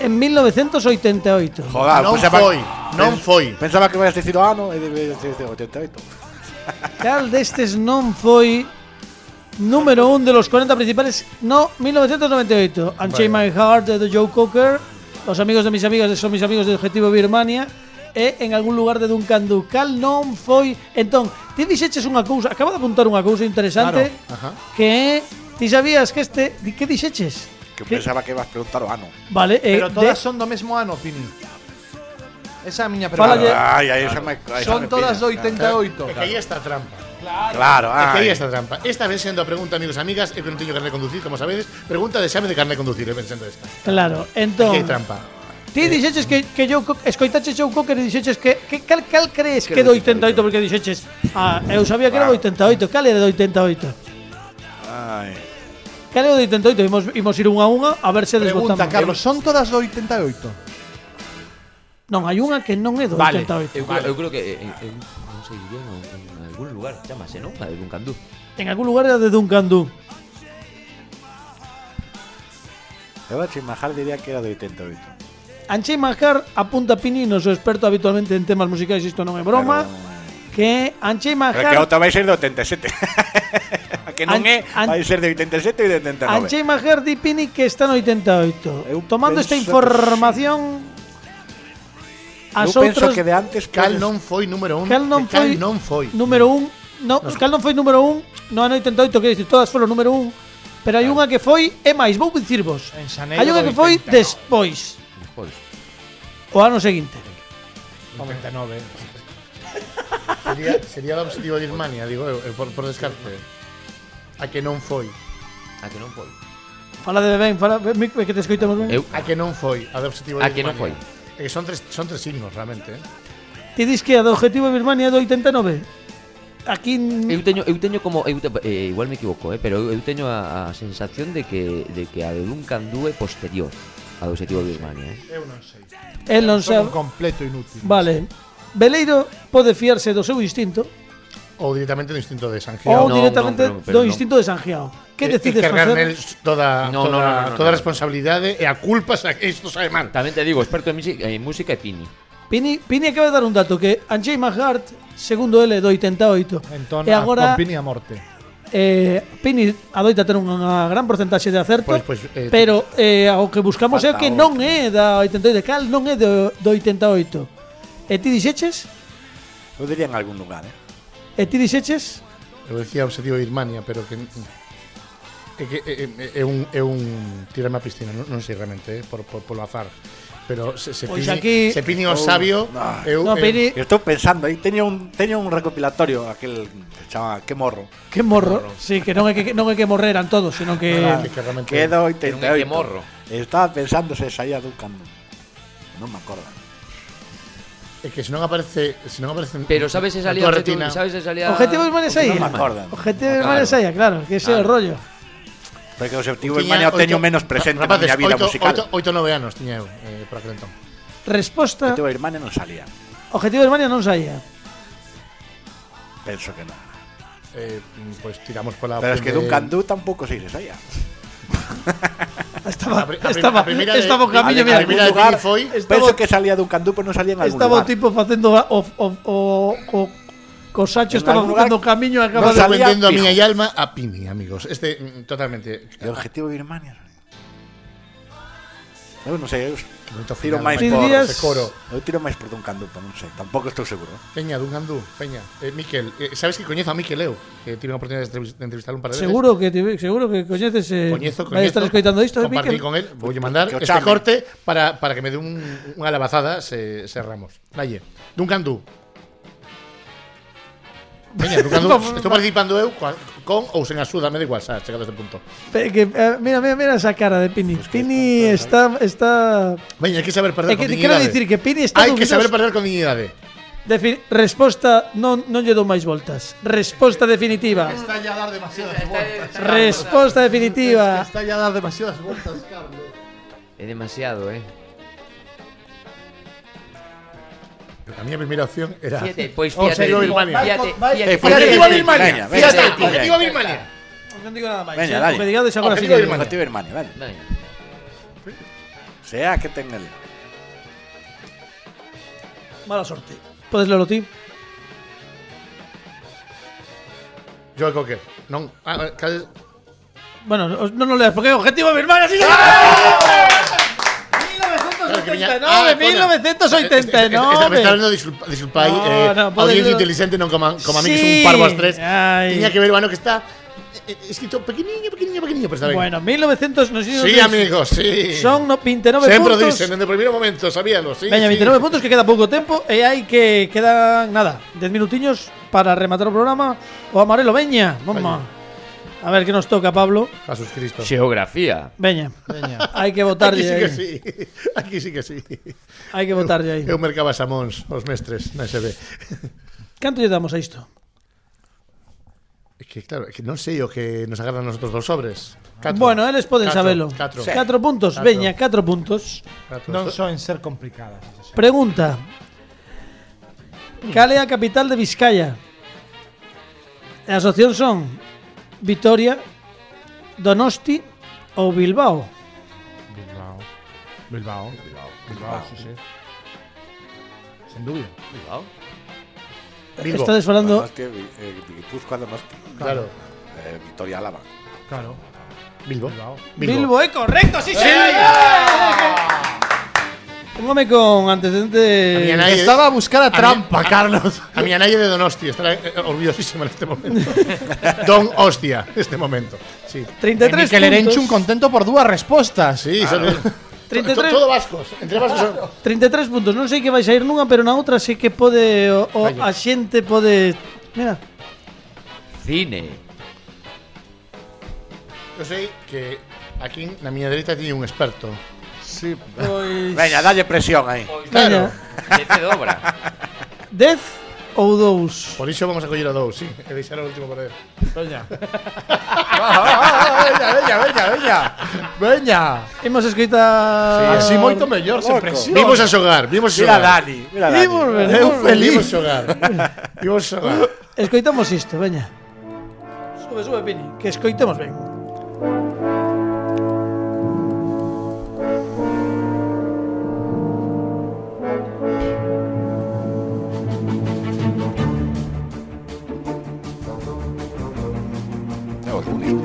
Speaker 2: en 1988?
Speaker 7: Joder,
Speaker 3: non
Speaker 7: pensaba,
Speaker 3: foi, non foi.
Speaker 7: Pensaba que vais dicir o ano e debe dicir 88.
Speaker 2: Cal destes non foi este número un de los 40 principales no 1998? Unchain My Heart de Joe Cocker, Os amigos de mis amigas de son mis amigos de Objetivo Birmania e en algún lugar de Duncan Du. Cal non foi... Entón, ti dixeches unha cousa, acaba de apuntar unha cousa interesante
Speaker 3: Claro, ajá.
Speaker 2: que é... Ti sabías que este... di- Que dixeches?
Speaker 7: Que pensaba que ibas preguntar o ano.
Speaker 2: Vale, eh,
Speaker 6: Pero todas
Speaker 2: de-
Speaker 6: son do mesmo ano, Pini. Esa é a miña
Speaker 2: Fálalle-
Speaker 6: pregunta.
Speaker 7: Ai, aí esa me, aí esa
Speaker 6: Son
Speaker 7: me
Speaker 6: todas do
Speaker 7: pilla.
Speaker 6: 88.
Speaker 3: É que aí está a trampa.
Speaker 7: Claro,
Speaker 3: É que aí
Speaker 7: ai.
Speaker 3: está a trampa. Esta vez sendo a pregunta, amigos e amigas, eu que non teño carne de conducir, como sabedes, pregunta de exame de carne de conducir, eu pensando esta.
Speaker 2: Claro,
Speaker 3: Aquí
Speaker 2: entón...
Speaker 3: hai trampa.
Speaker 7: Eh,
Speaker 2: Ti dixeches que, que Joe Cocker, escoitaches Joe Cocker e dixeches que, que cal, cal crees que do 88 porque dixeches ah, eu sabía que era do 88, cal era do 88?
Speaker 7: Ai.
Speaker 2: Cal era do 88? Imos, imos ir unha a unha a ver se
Speaker 6: Pregunta,
Speaker 2: desbotamos.
Speaker 6: Carlos, son todas do 88.
Speaker 2: Non, hai unha que non é do
Speaker 6: Vale.
Speaker 2: 88.
Speaker 4: Eu, creo, eu creo que en, en, non sei bien, en, en algún lugar chamase, non? A de Duncandú.
Speaker 2: En algún lugar era de Duncan Du.
Speaker 7: Eu a Chimajar diría que era e do 88.
Speaker 2: Anchei Majar apunta Pini, non sou experto habitualmente en temas musicais, isto non é broma, que
Speaker 7: Pero
Speaker 2: Anchei
Speaker 7: que a
Speaker 2: Majar
Speaker 7: outra vai ser do 87. que non
Speaker 2: An-
Speaker 7: é,
Speaker 2: an-
Speaker 7: vai ser de 87 e de 89.
Speaker 2: Anxei Majer di Pini que está no 88.
Speaker 7: Eu
Speaker 2: Tomando esta
Speaker 7: penso que
Speaker 2: información as
Speaker 7: Eu penso
Speaker 2: outras
Speaker 7: que de antes pues,
Speaker 3: Cal
Speaker 7: podes-
Speaker 3: non foi número un.
Speaker 2: Cal non
Speaker 3: que Cal
Speaker 2: foi
Speaker 3: non foi.
Speaker 2: número 1, no, Cal non foi número 1 no ano 88, quero dicir, todas foron número 1, pero hai unha que foi e máis, vou dicirvos.
Speaker 6: En xaneiro
Speaker 2: Hai unha
Speaker 6: do
Speaker 2: que foi
Speaker 6: 89.
Speaker 2: despois,
Speaker 4: Pois.
Speaker 2: o ano seguinte.
Speaker 6: 99.
Speaker 3: Sería, sería o obsesivo de Irmania, digo eu, eu por, por descarte. A que non foi.
Speaker 4: A Ah, que non foi.
Speaker 2: Fala de ben, fala mic, que te escoitamos ben.
Speaker 4: Eu
Speaker 3: A que non foi. A de obsesivo
Speaker 4: A
Speaker 3: de
Speaker 4: que non
Speaker 3: Birmania. É que son tres, son tres signos, realmente. eh.
Speaker 2: Ti dis que a do objetivo de Birmania é do 89. Aquí n-
Speaker 4: eu teño eu teño como eu te, eh, igual me equivoco, eh, pero eu, eu teño a, a sensación de que de que a de Duncan Dhu é posterior ao obxectivo de Birmania, eh.
Speaker 6: Eu non sei.
Speaker 2: el non
Speaker 6: Son
Speaker 2: sabe.
Speaker 6: un completo inútil.
Speaker 2: Vale. Beleiro pode fiarse do seu instinto
Speaker 3: Ou directamente do instinto de Eh, San
Speaker 2: ou
Speaker 3: Geo.
Speaker 4: No,
Speaker 2: directamente
Speaker 4: no, pero- Eh, pero
Speaker 2: do
Speaker 4: no.
Speaker 2: instinto de Sanjiao. Que decides
Speaker 3: cargar nel
Speaker 2: facer?
Speaker 3: toda,
Speaker 4: No, no, no,
Speaker 3: toda,
Speaker 4: no, no,
Speaker 3: toda
Speaker 4: no.
Speaker 3: responsabilidade e a culpa sa estos alemanes.
Speaker 4: Tamén te digo, experto en, misi- en música é Pini.
Speaker 2: Pini, Pini acaba de dar un dato que Anjay Mahart, segundo ele, do 88.
Speaker 6: Entón,
Speaker 2: e
Speaker 6: a,
Speaker 2: agora
Speaker 6: con Pini a morte.
Speaker 2: eh, Pini adoita ter unha gran porcentaxe de acerto,
Speaker 3: Pois, pois, eh,
Speaker 2: pero eh, o que buscamos é o
Speaker 7: falta
Speaker 2: que non é da 88, cal non é do, do 88. E ti dixeches?
Speaker 7: Eu diría en algún lugar, eh.
Speaker 2: E ti dixeches?
Speaker 3: Eu decía obsesivo de Birmania, pero que é que é, é- é un é un tirarme a piscina, non, non sei realmente, eh, por por polo azar. Pero se se
Speaker 2: Pois
Speaker 3: pini,
Speaker 2: aquí-
Speaker 3: se pini o sabio,
Speaker 7: Oh, no.
Speaker 3: eu,
Speaker 2: No,
Speaker 3: eu-
Speaker 2: Pini,
Speaker 7: Eu estou pensando, aí teño un teño un recopilatorio aquel que se chama Que morro.
Speaker 2: que morro. Sí, que non é que non é que morreran todos, senón que
Speaker 3: Ah, que realmente
Speaker 7: eh, Que é do
Speaker 4: Que
Speaker 7: 88.
Speaker 4: non é Que morro.
Speaker 7: Estaba pensando se saía dun cando. Non me acordo.
Speaker 3: é que se non aparece, se non aparece
Speaker 4: Pero sabes esa
Speaker 3: na
Speaker 4: liada,
Speaker 3: tua retina,
Speaker 4: sabes esa liada.
Speaker 2: Objetivo de Manes aí.
Speaker 7: non me acordan.
Speaker 2: Objetivo de
Speaker 4: Claro.
Speaker 2: Manes aí, claro, que ese é o
Speaker 4: Claro.
Speaker 2: rollo.
Speaker 7: Porque o
Speaker 3: tiña
Speaker 7: obxectivo de Mania o teño
Speaker 3: oito-
Speaker 7: menos presente na
Speaker 3: rapaces,
Speaker 7: miña vida
Speaker 3: oito-
Speaker 7: musical.
Speaker 3: oito- Oito, nove anos tiña eu, eh, por aquel entón.
Speaker 7: O
Speaker 2: Resposta,
Speaker 7: obxectivo de Mania non salía.
Speaker 2: objetivo de Manes non saía.
Speaker 7: Penso que non.
Speaker 3: Eh, mm, pois tiramos pola
Speaker 7: Pero es que
Speaker 3: primeira-
Speaker 7: Duncan Du tampouco sei se saía.
Speaker 2: Estaba
Speaker 3: a pri- a pri-
Speaker 2: estaba
Speaker 3: a primeira de-
Speaker 2: estaba o
Speaker 3: a
Speaker 2: camiño,
Speaker 3: primeira- a primeira
Speaker 2: mira.
Speaker 3: de
Speaker 7: lugar,
Speaker 3: Pini foi
Speaker 2: estaba-
Speaker 7: Penso que salía Duncan Du, pero non salía en algún
Speaker 2: Estaba o
Speaker 7: lugar.
Speaker 2: tipo facendo a- o o o o Cosacho
Speaker 7: En
Speaker 2: estaba
Speaker 7: algún lugar
Speaker 2: facendo o camiño e acaba
Speaker 3: Non
Speaker 2: de
Speaker 7: sabe-
Speaker 3: estou
Speaker 7: salía
Speaker 3: vendendo a
Speaker 7: fijo.
Speaker 3: miña alma a Pini, amigos. Este, mm, totalmente.
Speaker 7: E o obxectivo de Birmania. Eu non sei, eu,
Speaker 3: Momento
Speaker 7: tiro
Speaker 3: final,
Speaker 7: máis
Speaker 2: Ti
Speaker 7: por
Speaker 2: dirías-
Speaker 7: ese coro. Eu tiro máis por Duncan Du, pero non sei, tampouco estou seguro.
Speaker 3: Peña, Duncan Du, Peña. Eh, Miquel, eh, sabes que coñezo a Miquel eu? Que tive a oportunidade de entrevis- de entrevistar un par de veces.
Speaker 2: Seguro que te, seguro que coñeces eh,
Speaker 3: Coñezo,
Speaker 2: vai estar escoitando isto, eh,
Speaker 3: Compartí
Speaker 2: Miquel.
Speaker 3: con él, voy a mandar
Speaker 7: Que o
Speaker 3: este
Speaker 7: chame.
Speaker 3: corte para, para que me dé un, una alabazada, se, se Ramos. Naye, Duncan Du. Peña, Duncan Du, estou participando eu coa- con ou sen axuda, me da igual, xa, chegado a este punto.
Speaker 2: Pe- que, eh, mira, mira, mira esa cara de Pini. Pini está está
Speaker 3: Veña, hai que saber perder
Speaker 2: É
Speaker 3: con
Speaker 2: que te quero
Speaker 3: dignidade.
Speaker 2: dicir que Pini está
Speaker 3: Hai que
Speaker 2: dubidoso.
Speaker 3: saber perder con dignidade.
Speaker 2: Defi- resposta non non lle dou máis voltas. Resposta definitiva.
Speaker 6: Está ya a dar demasiadas vueltas.
Speaker 2: Resposta definitiva.
Speaker 6: Está ya a dar demasiadas vueltas, Carlos.
Speaker 4: É demasiado, eh.
Speaker 3: A miña primeira opción
Speaker 6: Ah.
Speaker 3: era... Oh,
Speaker 4: Fíjate, pois
Speaker 3: O
Speaker 4: pues fíjate.
Speaker 3: obsesivo de Birmania.
Speaker 4: Fíjate,
Speaker 7: Eh,
Speaker 4: fíjate.
Speaker 7: pues,
Speaker 4: fíjate.
Speaker 7: Objetivo
Speaker 3: Objetivo
Speaker 7: de
Speaker 3: Birmania.
Speaker 7: Birmania,
Speaker 3: Ya está,
Speaker 4: venga.
Speaker 3: objetivo Birmania.
Speaker 2: Non digo nada máis.
Speaker 7: Veña,
Speaker 2: eh,
Speaker 7: dale.
Speaker 2: o que digades agora sí.
Speaker 3: Objetivo
Speaker 2: que-
Speaker 3: Birmania.
Speaker 7: Objectivo de Birmania, vale.
Speaker 4: Venga.
Speaker 7: Sea que ten el.
Speaker 2: Mala sorte. Podes lelo ti.
Speaker 3: Joel Cocker. Non, ah, eh, cal-
Speaker 2: Bueno, os- non o leas porque é objetivo Birmania. Sí,
Speaker 3: Claro que viña-
Speaker 2: 1989,
Speaker 3: Ah, coño. Este- este- este- Me está
Speaker 2: 1989.
Speaker 3: vendo, disculpa, disculpai,
Speaker 2: No,
Speaker 3: eh,
Speaker 2: no, podéis
Speaker 3: audiencia
Speaker 2: ver-
Speaker 3: inteligente non coman, coman a mí que son
Speaker 2: Sí.
Speaker 3: un parvo as tres.
Speaker 2: Ay.
Speaker 3: Tiña que ver, bueno, que está eh, eh, escrito pequeniño, pequeniño, pequeniño, pero está ben.
Speaker 2: Bueno, 1900, no sé si os
Speaker 3: este, sí,
Speaker 2: dices.
Speaker 3: amigos, sí.
Speaker 2: Son no- 29
Speaker 3: Sempre o
Speaker 2: puntos.
Speaker 3: dicen, dende o primeiro momento, sabíalo, sí.
Speaker 2: Veña,
Speaker 3: sí.
Speaker 2: 29 puntos que queda pouco tempo e hai que quedan nada, 10 minutiños para rematar o programa. O amarelo, veña, mamá. A ver que nos toca, Pablo.
Speaker 3: Jesús Cristo.
Speaker 4: Geografía.
Speaker 2: Veña. Hai que
Speaker 3: Aquí
Speaker 2: votarlle.
Speaker 3: sí que
Speaker 2: aí.
Speaker 3: sí. Aquí sí que sí.
Speaker 2: Hai que votarlle aí.
Speaker 3: Eu mercaba samóns os mestres na SB.
Speaker 2: Canto lle damos a isto?
Speaker 3: É que claro, é que non sei o que nos agarran nosotros dos sobres. Catro.
Speaker 2: Bueno, eles poden
Speaker 3: Catro,
Speaker 2: sabelo.
Speaker 3: Catro.
Speaker 2: 4 puntos,
Speaker 3: Catro.
Speaker 2: veña, 4 puntos.
Speaker 3: Catro.
Speaker 6: Non soen ser complicadas. esas series.
Speaker 2: Pregunta. Cal é a capital de Vizcaya? E As opcións son Vitoria, Donosti ou Bilbao.
Speaker 6: Bilbao. Bilbao. Bilbao. Bilbao, sí, sí. Sen dúbida.
Speaker 4: Bilbao.
Speaker 3: Bilbo.
Speaker 2: Estades falando
Speaker 7: Donosti, eh, Guipúzcoa, Donosti.
Speaker 3: Claro.
Speaker 7: Eh, Victoria Álava.
Speaker 6: Claro.
Speaker 3: Bilbo.
Speaker 2: Bilbo, ¿eh? Correcto, sí, sí. Un hombre con antecedentes.
Speaker 3: Estaba a buscar a
Speaker 6: trampa, Carlos.
Speaker 3: A mi Anaye de Don Hostia, estará eh, orgullosísima en este momento. Don Hostia, en este momento. Sí.
Speaker 2: 33
Speaker 6: que le
Speaker 2: puntos.
Speaker 6: un contento por dúas respostas.
Speaker 3: Sí, son-
Speaker 2: 33.
Speaker 3: to- todo vascos. Entre vascos son-
Speaker 2: 33 puntos. Non sei que vais a ir nunha, pero na outra sei que pode o, o
Speaker 3: Vaya.
Speaker 2: a xente pode, mira,
Speaker 4: Cine.
Speaker 3: Yo sé que aquí na miña dereita tiene un experto.
Speaker 6: Sí.
Speaker 7: Venga, dalle presión ahí.
Speaker 2: Claro.
Speaker 4: Cine de obra.
Speaker 2: 10 ou 2.
Speaker 3: Por eso vamos a coger a dos, sí. E deixar o último para él.
Speaker 6: Veña, veña, veña, veña. Veña.
Speaker 2: Imos escoitar
Speaker 6: Así moito mellor, sen
Speaker 7: Loco.
Speaker 6: presión.
Speaker 3: Vimos a xogar, vimos a
Speaker 7: Mira a
Speaker 3: xogar.
Speaker 7: Dani, mira a Dani.
Speaker 2: Vimos, ver-
Speaker 3: Eu
Speaker 2: vimos-
Speaker 3: feliz. Vimos a xogar. Vimos a xogar.
Speaker 2: Escoitamos isto, veña. Sube, sube, Pini, que escoitemos ben.
Speaker 7: É os Goonies.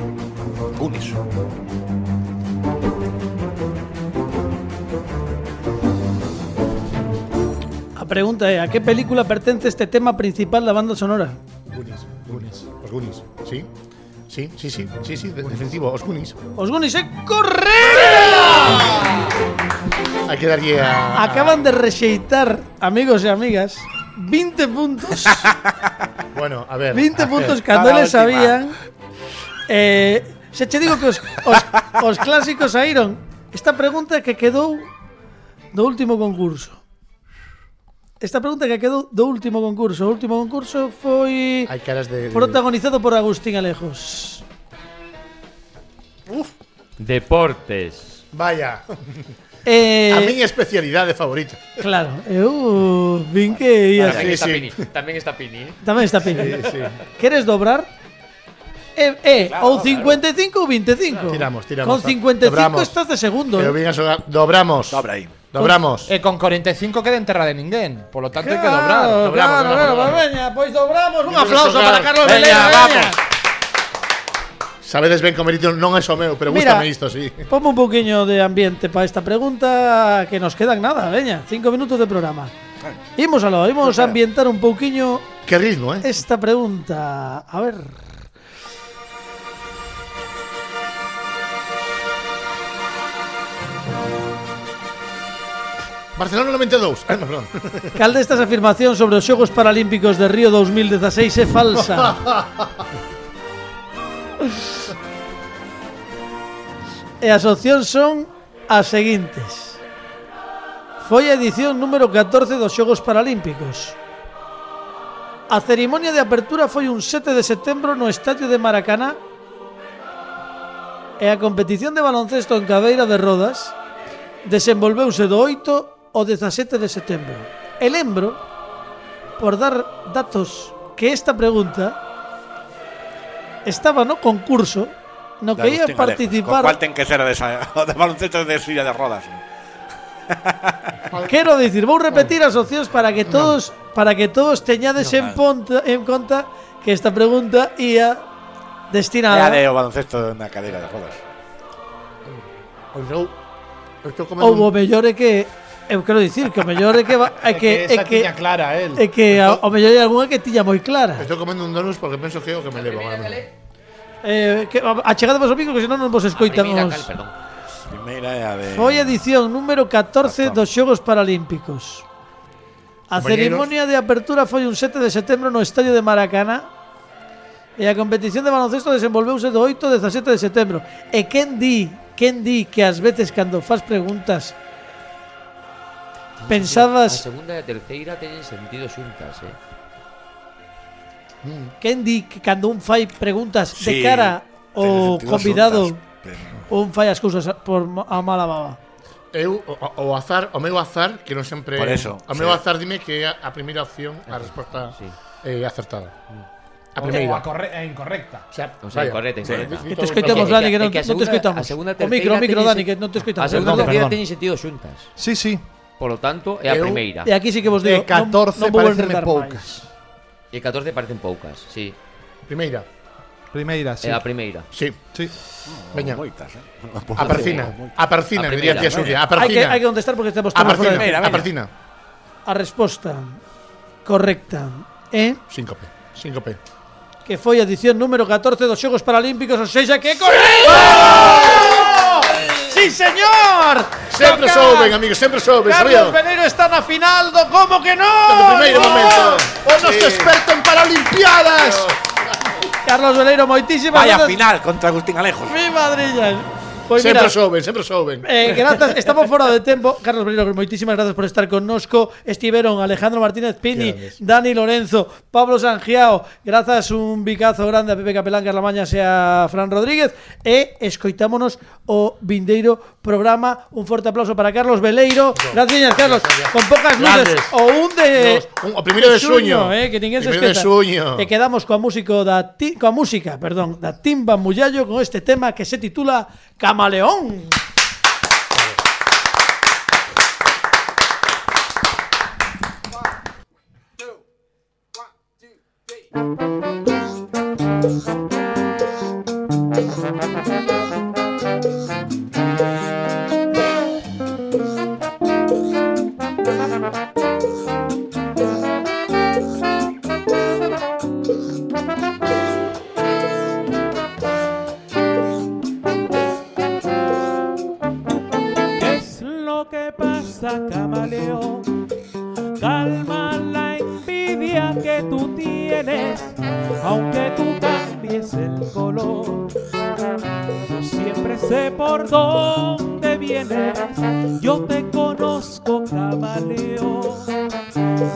Speaker 7: Goonies.
Speaker 2: A pregunta é, a que película pertence este tema principal da banda sonora?
Speaker 3: Goonies. Goonies. Os Goonies. Sí. Sí, sí, sí, sí, sí, de- definitivo, os Goonies.
Speaker 2: Os Goonies é correcto!
Speaker 3: Hay que darlle a...
Speaker 2: Acaban de rexeitar, amigos e amigas, 20 puntos.
Speaker 3: Bueno, a ver.
Speaker 2: 20
Speaker 3: a ver.
Speaker 2: puntos cando
Speaker 7: Para a
Speaker 2: eles
Speaker 7: última.
Speaker 2: sabían. Eh, se che digo que os, os, os clásicos saíron. Esta pregunta que quedou do último concurso. Esta pregunta que quedou do último concurso. O último concurso foi
Speaker 3: Hay caras de... de-
Speaker 2: protagonizado por Agustín Alejos.
Speaker 4: Deportes.
Speaker 3: Vaya.
Speaker 2: Eh,
Speaker 3: A miña especialidade favorita.
Speaker 2: Claro, eu vin que ia
Speaker 4: También
Speaker 3: sí,
Speaker 4: está
Speaker 3: sí.
Speaker 4: Pini. También está Pini. ¿eh?
Speaker 2: Tamén está Pini.
Speaker 3: sí.
Speaker 2: Queres dobrar? Eh, eh, ou 55 ou 25.
Speaker 3: Tiramos, tiramos.
Speaker 2: Con 55
Speaker 3: Dobramos.
Speaker 2: estás de segundo.
Speaker 3: Pero
Speaker 2: eh.
Speaker 3: bien a xogar. Dobramos.
Speaker 7: Dobra aí.
Speaker 3: Dobramos.
Speaker 6: E con 45 queda en terra de ninguén, por lo tanto
Speaker 2: Claro,
Speaker 3: dobrar,
Speaker 2: claro,
Speaker 3: dobramos,
Speaker 2: claro,
Speaker 3: dobramos.
Speaker 2: pues veña, pois dobramos. Un
Speaker 3: Vamos
Speaker 2: aplauso
Speaker 3: dobrar.
Speaker 2: para Carlos
Speaker 3: Veña,
Speaker 2: Velera,
Speaker 3: vamos.
Speaker 2: veña.
Speaker 3: Sabedes ben comerito non é o meu, pero
Speaker 2: Mira.
Speaker 3: gustame isto, sí.
Speaker 2: Ponme un poquillo de ambiente para esta pregunta que nos quedan nada, veña, cinco minutos de programa. Imos a lo, imos a ambientar un poquillo
Speaker 3: Que ritmo, eh?
Speaker 2: esta pregunta. A ver.
Speaker 3: Barcelona 92. Ah, no, perdón.
Speaker 2: Cal destas afirmacións sobre os Xogos Paralímpicos de Río 2016 é falsa? e as opcións son as seguintes. Foi a edición número 14 dos Xogos Paralímpicos. A cerimonia de apertura foi un 7 de setembro no estadio de Maracaná e a competición de baloncesto en Cabeira de Rodas desenvolveuse do 8 ao 17 de setembro. E lembro, por dar datos, que esta pregunta estaba no concurso no
Speaker 7: De
Speaker 2: que ia
Speaker 7: Agustín Alejo.
Speaker 2: participar...
Speaker 7: Con cuál ten que ser de esa, de baloncesto de silla de rodas.
Speaker 2: Quero dicir, vou repetir as opcións para que todos para que todos teñades en ponta en conta que esta pregunta ia
Speaker 7: Era
Speaker 2: destinada
Speaker 7: de o baloncesto de una cadera de rodas.
Speaker 3: Eu estou comendo
Speaker 2: ou o mellor é que eu quero dicir que o mellor é que va- é que é
Speaker 6: esa
Speaker 2: que
Speaker 6: tiña clara él.
Speaker 2: é que a- o mellor é algunha que tiña
Speaker 3: un,
Speaker 2: moi clara.
Speaker 3: estou comendo un donus porque penso que é o que me levo agora mesmo.
Speaker 2: Eh, que achegádevos ao micro que senón non vos escoitan
Speaker 4: Mira,
Speaker 2: os.
Speaker 4: Cal, perdón.
Speaker 7: Primera era de.
Speaker 2: Foi a edición número 14 dos Xogos Paralímpicos. A
Speaker 3: Compañeiros.
Speaker 2: cerimonia de apertura foi un 7 de setembro no estadio de Maracaná e a competición de baloncesto desenvolveuse do 8 ao 17 de setembro. E quen di, quen di que ás veces cando faz preguntas
Speaker 4: A
Speaker 2: pensadas,
Speaker 4: segunda e a terceira teñen sentido xuntas, eh.
Speaker 2: quen di que cando un fai preguntas de
Speaker 7: Sí,
Speaker 2: cara ao
Speaker 7: ten sentido
Speaker 2: convidado,
Speaker 7: xuntas, pero-
Speaker 2: un fai as cousas por ma- a mala baba.
Speaker 3: Eu o, o azar, o meu azar, que non sempre
Speaker 7: Por eso,
Speaker 3: O meu
Speaker 7: sí.
Speaker 3: azar dime que é a, a primeira opción, a resposta
Speaker 4: Sí.
Speaker 3: eh, acertada. A
Speaker 6: Ou
Speaker 3: primeira.
Speaker 6: a corre- a incorrecta.
Speaker 3: sea,
Speaker 4: O sea, incorrecta, incorrecta.
Speaker 2: Que te escoitamos,
Speaker 4: que-
Speaker 2: Dani, que
Speaker 4: que
Speaker 2: non,
Speaker 4: que a
Speaker 2: non te
Speaker 4: segunda-
Speaker 2: escoitamos.
Speaker 4: a segunda e
Speaker 2: o micro,
Speaker 4: terceira
Speaker 2: o micro,
Speaker 4: teñen
Speaker 2: Dani,
Speaker 4: se-
Speaker 2: que non te
Speaker 4: A
Speaker 2: escoitamos.
Speaker 4: segunda e
Speaker 6: Perdón,
Speaker 4: a terceira
Speaker 6: perdón.
Speaker 4: teñen sentido xuntas.
Speaker 6: Sí, sí.
Speaker 4: Por lo tanto, é a
Speaker 3: Eu-
Speaker 4: primeira.
Speaker 2: E aquí sí que vos
Speaker 6: E
Speaker 2: digo,
Speaker 6: 14
Speaker 2: non, non vou
Speaker 6: pareceme
Speaker 2: enredar máis.
Speaker 6: poucas.
Speaker 4: E 14 parecen poucas, sí.
Speaker 3: Primeira.
Speaker 6: Primeira,
Speaker 4: É
Speaker 6: sí.
Speaker 4: a primeira.
Speaker 3: Sí.
Speaker 6: Sí.
Speaker 3: Veña.
Speaker 7: Moitas, eh?
Speaker 3: A parcina. A
Speaker 4: A
Speaker 3: parcina, diría
Speaker 4: primeira,
Speaker 3: tía Xulia. A
Speaker 2: Hai que, hai que
Speaker 3: parcina.
Speaker 2: contestar porque estamos
Speaker 3: A
Speaker 2: todos fuera de-
Speaker 3: parcina. A parcina.
Speaker 2: A resposta correcta é
Speaker 3: Síncope. Síncope.
Speaker 2: que foi a edición número 14 dos Xogos Paralímpicos, ou seja, que é correcto! Sí, señor!
Speaker 3: Sempre
Speaker 2: Toca-
Speaker 3: souben, amigos, sempre souben.
Speaker 2: Carlos
Speaker 3: Sabía.
Speaker 2: Pereiro está na final do Como que
Speaker 3: No
Speaker 2: non?
Speaker 3: primeiro momento.
Speaker 6: O
Speaker 2: Pues
Speaker 6: noso experto en Paralimpiadas.
Speaker 2: Carlos Pereiro, moitísimas
Speaker 7: Vaya
Speaker 2: grazas.
Speaker 7: final contra Agustín Alejo.
Speaker 2: Mi madrilla. Pois mira,
Speaker 3: Sempre souben, sempre souben.
Speaker 2: Eh, grazas, estamos fora de tempo Carlos Pereiro, moitísimas grazas por estar connosco Estiveron Alejandro Martínez Pini
Speaker 3: Grandes.
Speaker 2: Dani Lorenzo, Pablo Sangiao Grazas un bicazo grande a Pepe Capelán Carlamañas e a Fran Rodríguez E escoitámonos o vindeiro programa Un forte aplauso para Carlos Beleiro Graciñas Carlos, con poucas luces
Speaker 3: Grandes.
Speaker 2: O un de...
Speaker 3: Nos, un- o primeiro de suño.
Speaker 2: eh, Que ninguén se
Speaker 3: Primeiro de
Speaker 2: esqueza.
Speaker 3: suño.
Speaker 2: E quedamos coa músico da ti, coa música, perdón, da Timba Mullallo con este tema que se titula Camaleón.
Speaker 9: ¿Qué es lo que pasa, camaleón? Calma la envidia que tú tienes, aunque tú cambies el color. Yo siempre sé por dónde vienes, yo te conozco, camaleón.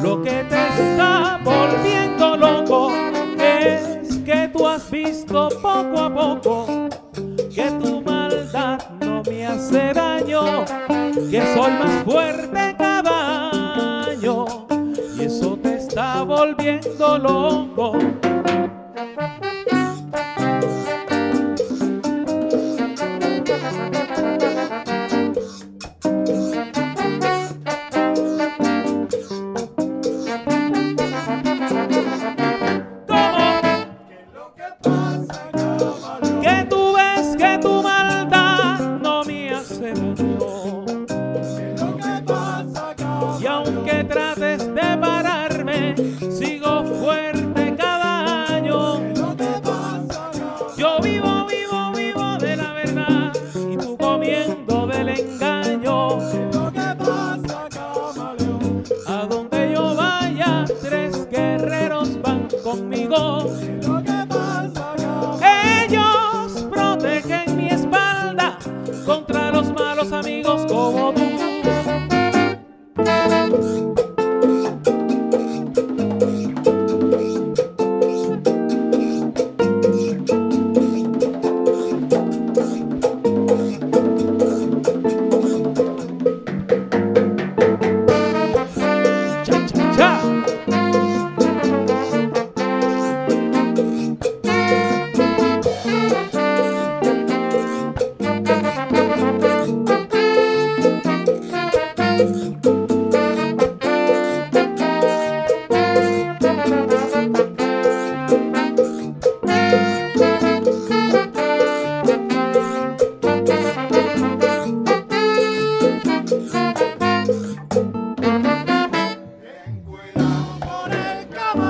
Speaker 9: Lo que te está volviendo loco es que tú has visto poco a poco que tu maldad no me hace daño, que soy más fuerte cada año y eso te está volviendo loco. ¿Cómo? que tú ves que tu maldad no me hace daño. Y aunque trates de pararme, sigo fuerte cada año. Yo vivo, vivo, vivo de la verdad y tú comiendo del engaño. A donde yo vaya, tres guerreros van conmigo. Ellos protegen mi espalda contra los malos amigos como tú. Cha, cha, cha.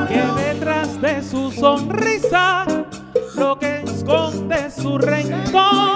Speaker 9: que detrás de su sonrisa lo que esconde su rencor.